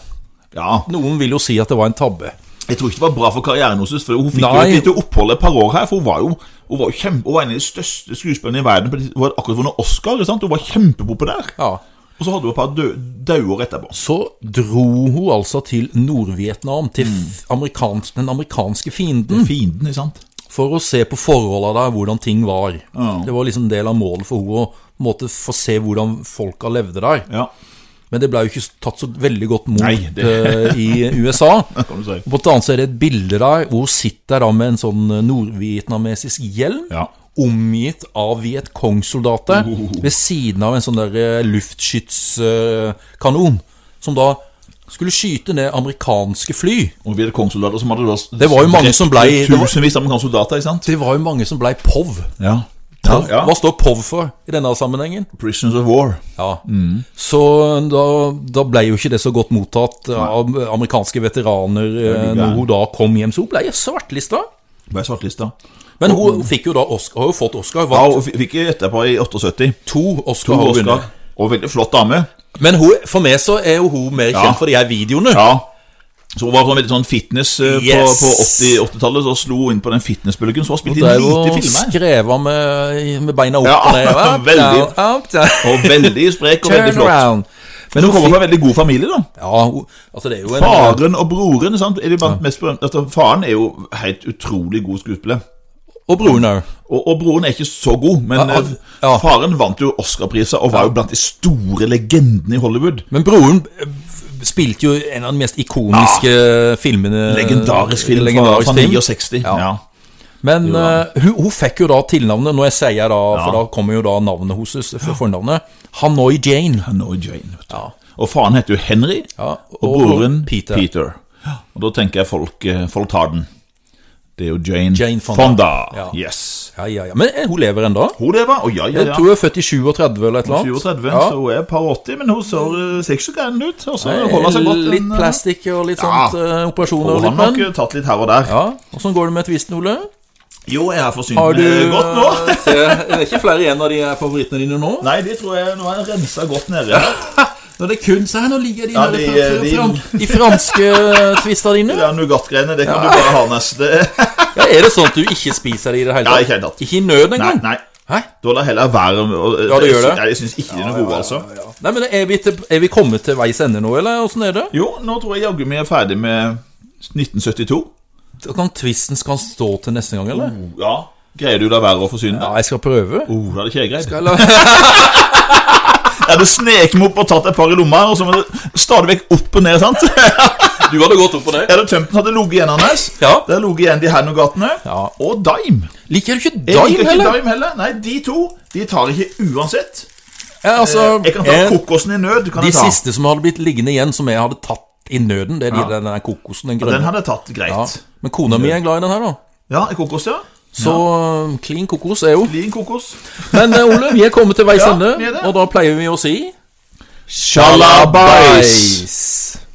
S2: Ja.
S1: noen vil jo si at det var en tabbe.
S2: Jeg tror ikke det var bra for karrieren hennes. For hun fikk jo
S1: Nei.
S2: et lite opphold et par år her. For hun var jo, hun var jo kjempe, hun var en av de største skuespillerne i verden. på det- Hun hadde akkurat vunnet Oscar. ikke Sant? Hun var kjempepopulær.
S1: Ja.
S2: Og så hadde hun et par dø- daue år etterpå.
S1: Så dro hun altså til Nord-Vietnam, til
S2: Mm.
S1: f- amerikans den amerikanske fienden,
S2: Fienden, ikke sant?
S1: for å se på forholda der, hvordan ting var.
S2: Ja.
S1: Det var liksom en del av målet for henne å på en måte, få se hvordan folka levde der.
S2: Ja.
S1: Men det ble jo ikke tatt så veldig godt mot
S2: Nei, det-
S1: eh, i USA.
S2: kan du si.
S1: Blant annet så er det et bilde der hvor hun sitter da med en sånn eh, nordvietnamesisk hjelm.
S2: Ja.
S1: Omgitt av Vietcong-soldater
S2: Oh.
S1: ved siden av en sånn der eh, luftskytskanon. Som da skulle skyte ned amerikanske fly.
S2: Og vi hadde kongssoldater som hadde da s-
S1: Det var jo mange
S2: drept
S1: som ble-
S2: Tusenvis av amerikanske soldater, ikke sant?
S1: Det var jo mange som blei POV.
S2: Ja. Ja, ja.
S1: Hva står POV for i denne sammenhengen?
S2: Prisoners of War.
S1: Ja. Så da, da ble jo ikke det så godt mottatt av amerikanske veteraner eh,
S2: du
S1: når
S2: gæren?
S1: hun da kom hjem. Så hun ble svartlista.
S2: Ble svartlista.
S1: Men hun fikk jo da Oscar, har jo fått Oscar.
S2: Ja,
S1: Vant
S2: og f- fikk etterpå i 78.
S1: to
S2: To
S1: Oscar. har hun
S2: Oscar.
S1: vunnet.
S2: Og veldig flott dame.
S1: Men hun, for meg så er jo hun mer kjent
S2: Ja.
S1: for de her videoene.
S2: Ja. Så hun var sånn veldig sånn fitness eh,
S1: Yes.
S2: på, på 80 80-tallet. så slo hun inn på den fitnessbølgen. Så hun har spilt i
S1: Det er jo
S2: lite filmer.
S1: skreva med, med beina opp
S2: Ja,
S1: og ned. Up,
S2: veldig.
S1: down, up, down.
S2: Og veldig sprek og veldig
S1: Turn
S2: flott.
S1: around.
S2: Men hun kommer fra en veldig god familie, da.
S1: Ja, hun, altså det er jo en
S2: Faren og broren sant? er de blant mest berømte. Altså, faren er jo helt utrolig god skuespiller.
S1: Og broren òg.
S2: Og, og broren er ikke så god, men
S1: Ja,
S2: eh,
S1: ja.
S2: faren vant jo Oscar-priser og var jo blant de store legendene i Hollywood.
S1: Men broren eh, f- spilte jo en av de mest ikoniske filmene.
S2: Legendarisk film
S1: Eh, Legendarisk
S2: fra, fra
S1: film.
S2: 69. Ja. Ja.
S1: Men eh, hun, hun fikk jo da tilnavnet, når jeg sier da,
S2: Ja.
S1: for da kommer jo da navnet hennes for fornavnet, Hanoi Jane.
S2: Hanoi Jane, vet du.
S1: Ja.
S2: Og faren heter jo Henry,
S1: Ja,
S2: og,
S1: og
S2: broren
S1: Peter.
S2: Peter. Og da tenker jeg folk, eh, folk tar den. Det er jo Jane,
S1: Jane Fonda. Ja.
S2: Yes.
S1: Ja, ja, ja. Men eh, hun lever ennå.
S2: Hun det var, og ja, ja,
S1: Jeg
S2: ja.
S1: tror hun er født i 37 eller et eller annet.
S2: 37,
S1: Ja.
S2: så hun er et par 80, men hun ser eh, ser ikke så gæren ut. Og så
S1: Eh,
S2: holder hun seg godt.
S1: Litt
S2: men, eh,
S1: plastikk og litt
S2: Ja.
S1: sånt eh, operasjoner
S2: Hun
S1: og
S2: har
S1: litt,
S2: nok
S1: men
S2: eh, tatt litt her og der.
S1: ja. Åssen går det med tvisten, Ole?
S2: Jo, jeg har forsynt
S1: Har du
S2: meg godt nå.
S1: eh, se, er det ikke flere igjen av de her favorittene dine nå?
S2: Nei, de tror jeg nå har jeg rensa godt nede.
S1: Når det er kun så her, nå ligger de
S2: Ja,
S1: her
S2: de, eh,
S1: fra- fra-
S2: de-
S1: fram- i franske eh, tvister dine.
S2: Det er Nougat-greiene, det kan du bare ha neste
S1: Ja, er det sånn at du ikke spiser det i det hele
S2: Ja,
S1: tatt?
S2: ikke i det hele tatt.
S1: Ikke i nød
S2: Nei,
S1: engang?
S2: nei.
S1: Hæ?
S2: Da lar jeg heller være med å-
S1: Ja, det gjør det.
S2: Jeg, jeg syns ikke de er noe gode, altså.
S1: Nei, men er vi, til, er vi kommet til veis ende nå, eller åssen er det?
S2: Jo, nå tror jeg jaggu vi er ferdig med 1972.
S1: Da Kan tvisten skal stå til neste gang, eller?
S2: Oh, Ja, Greier du da være å forsyne
S1: Ja,
S2: deg?
S1: jeg skal prøve.
S2: Oh, det hadde ikke jeg greid.
S1: Eller,
S2: Jeg hadde sneket meg opp og tatt et par i lomma, og så var det stadig vekk opp og ned. sant? Jeg
S1: du hadde gått opp på det.
S2: hadde tømt den, så hadde det ligget igjen hans.
S1: Ja.
S2: Det hadde ligget igjen de her Nougatene.
S1: Ja.
S2: Og Dime.
S1: Liker du ikke
S2: Jeg liker
S1: daim,
S2: ikke
S1: heller?
S2: Dime heller. Nei, de to de tar ikke uansett.
S1: Ja, altså,
S2: Jeg kan ta
S1: eh,
S2: kokosen i nød. kan
S1: de
S2: jeg ta.
S1: siste som hadde blitt liggende igjen, som jeg hadde tatt i nøden, det er de,
S2: Ja.
S1: den der kokosen, den
S2: Den
S1: grønne.
S2: hadde jeg tatt
S1: Ja.
S2: greit.
S1: Men kona mi er glad i den her, da.
S2: Ja, en kokos, ja.
S1: Så eh, clean kokos er jo
S2: Blir en kokos.
S1: Men eh, Ole, vi er kommet til veis
S2: Ja,
S1: ende,
S2: vi er det.
S1: og da pleier vi å si
S2: Shalabais!
S1: Shalabais.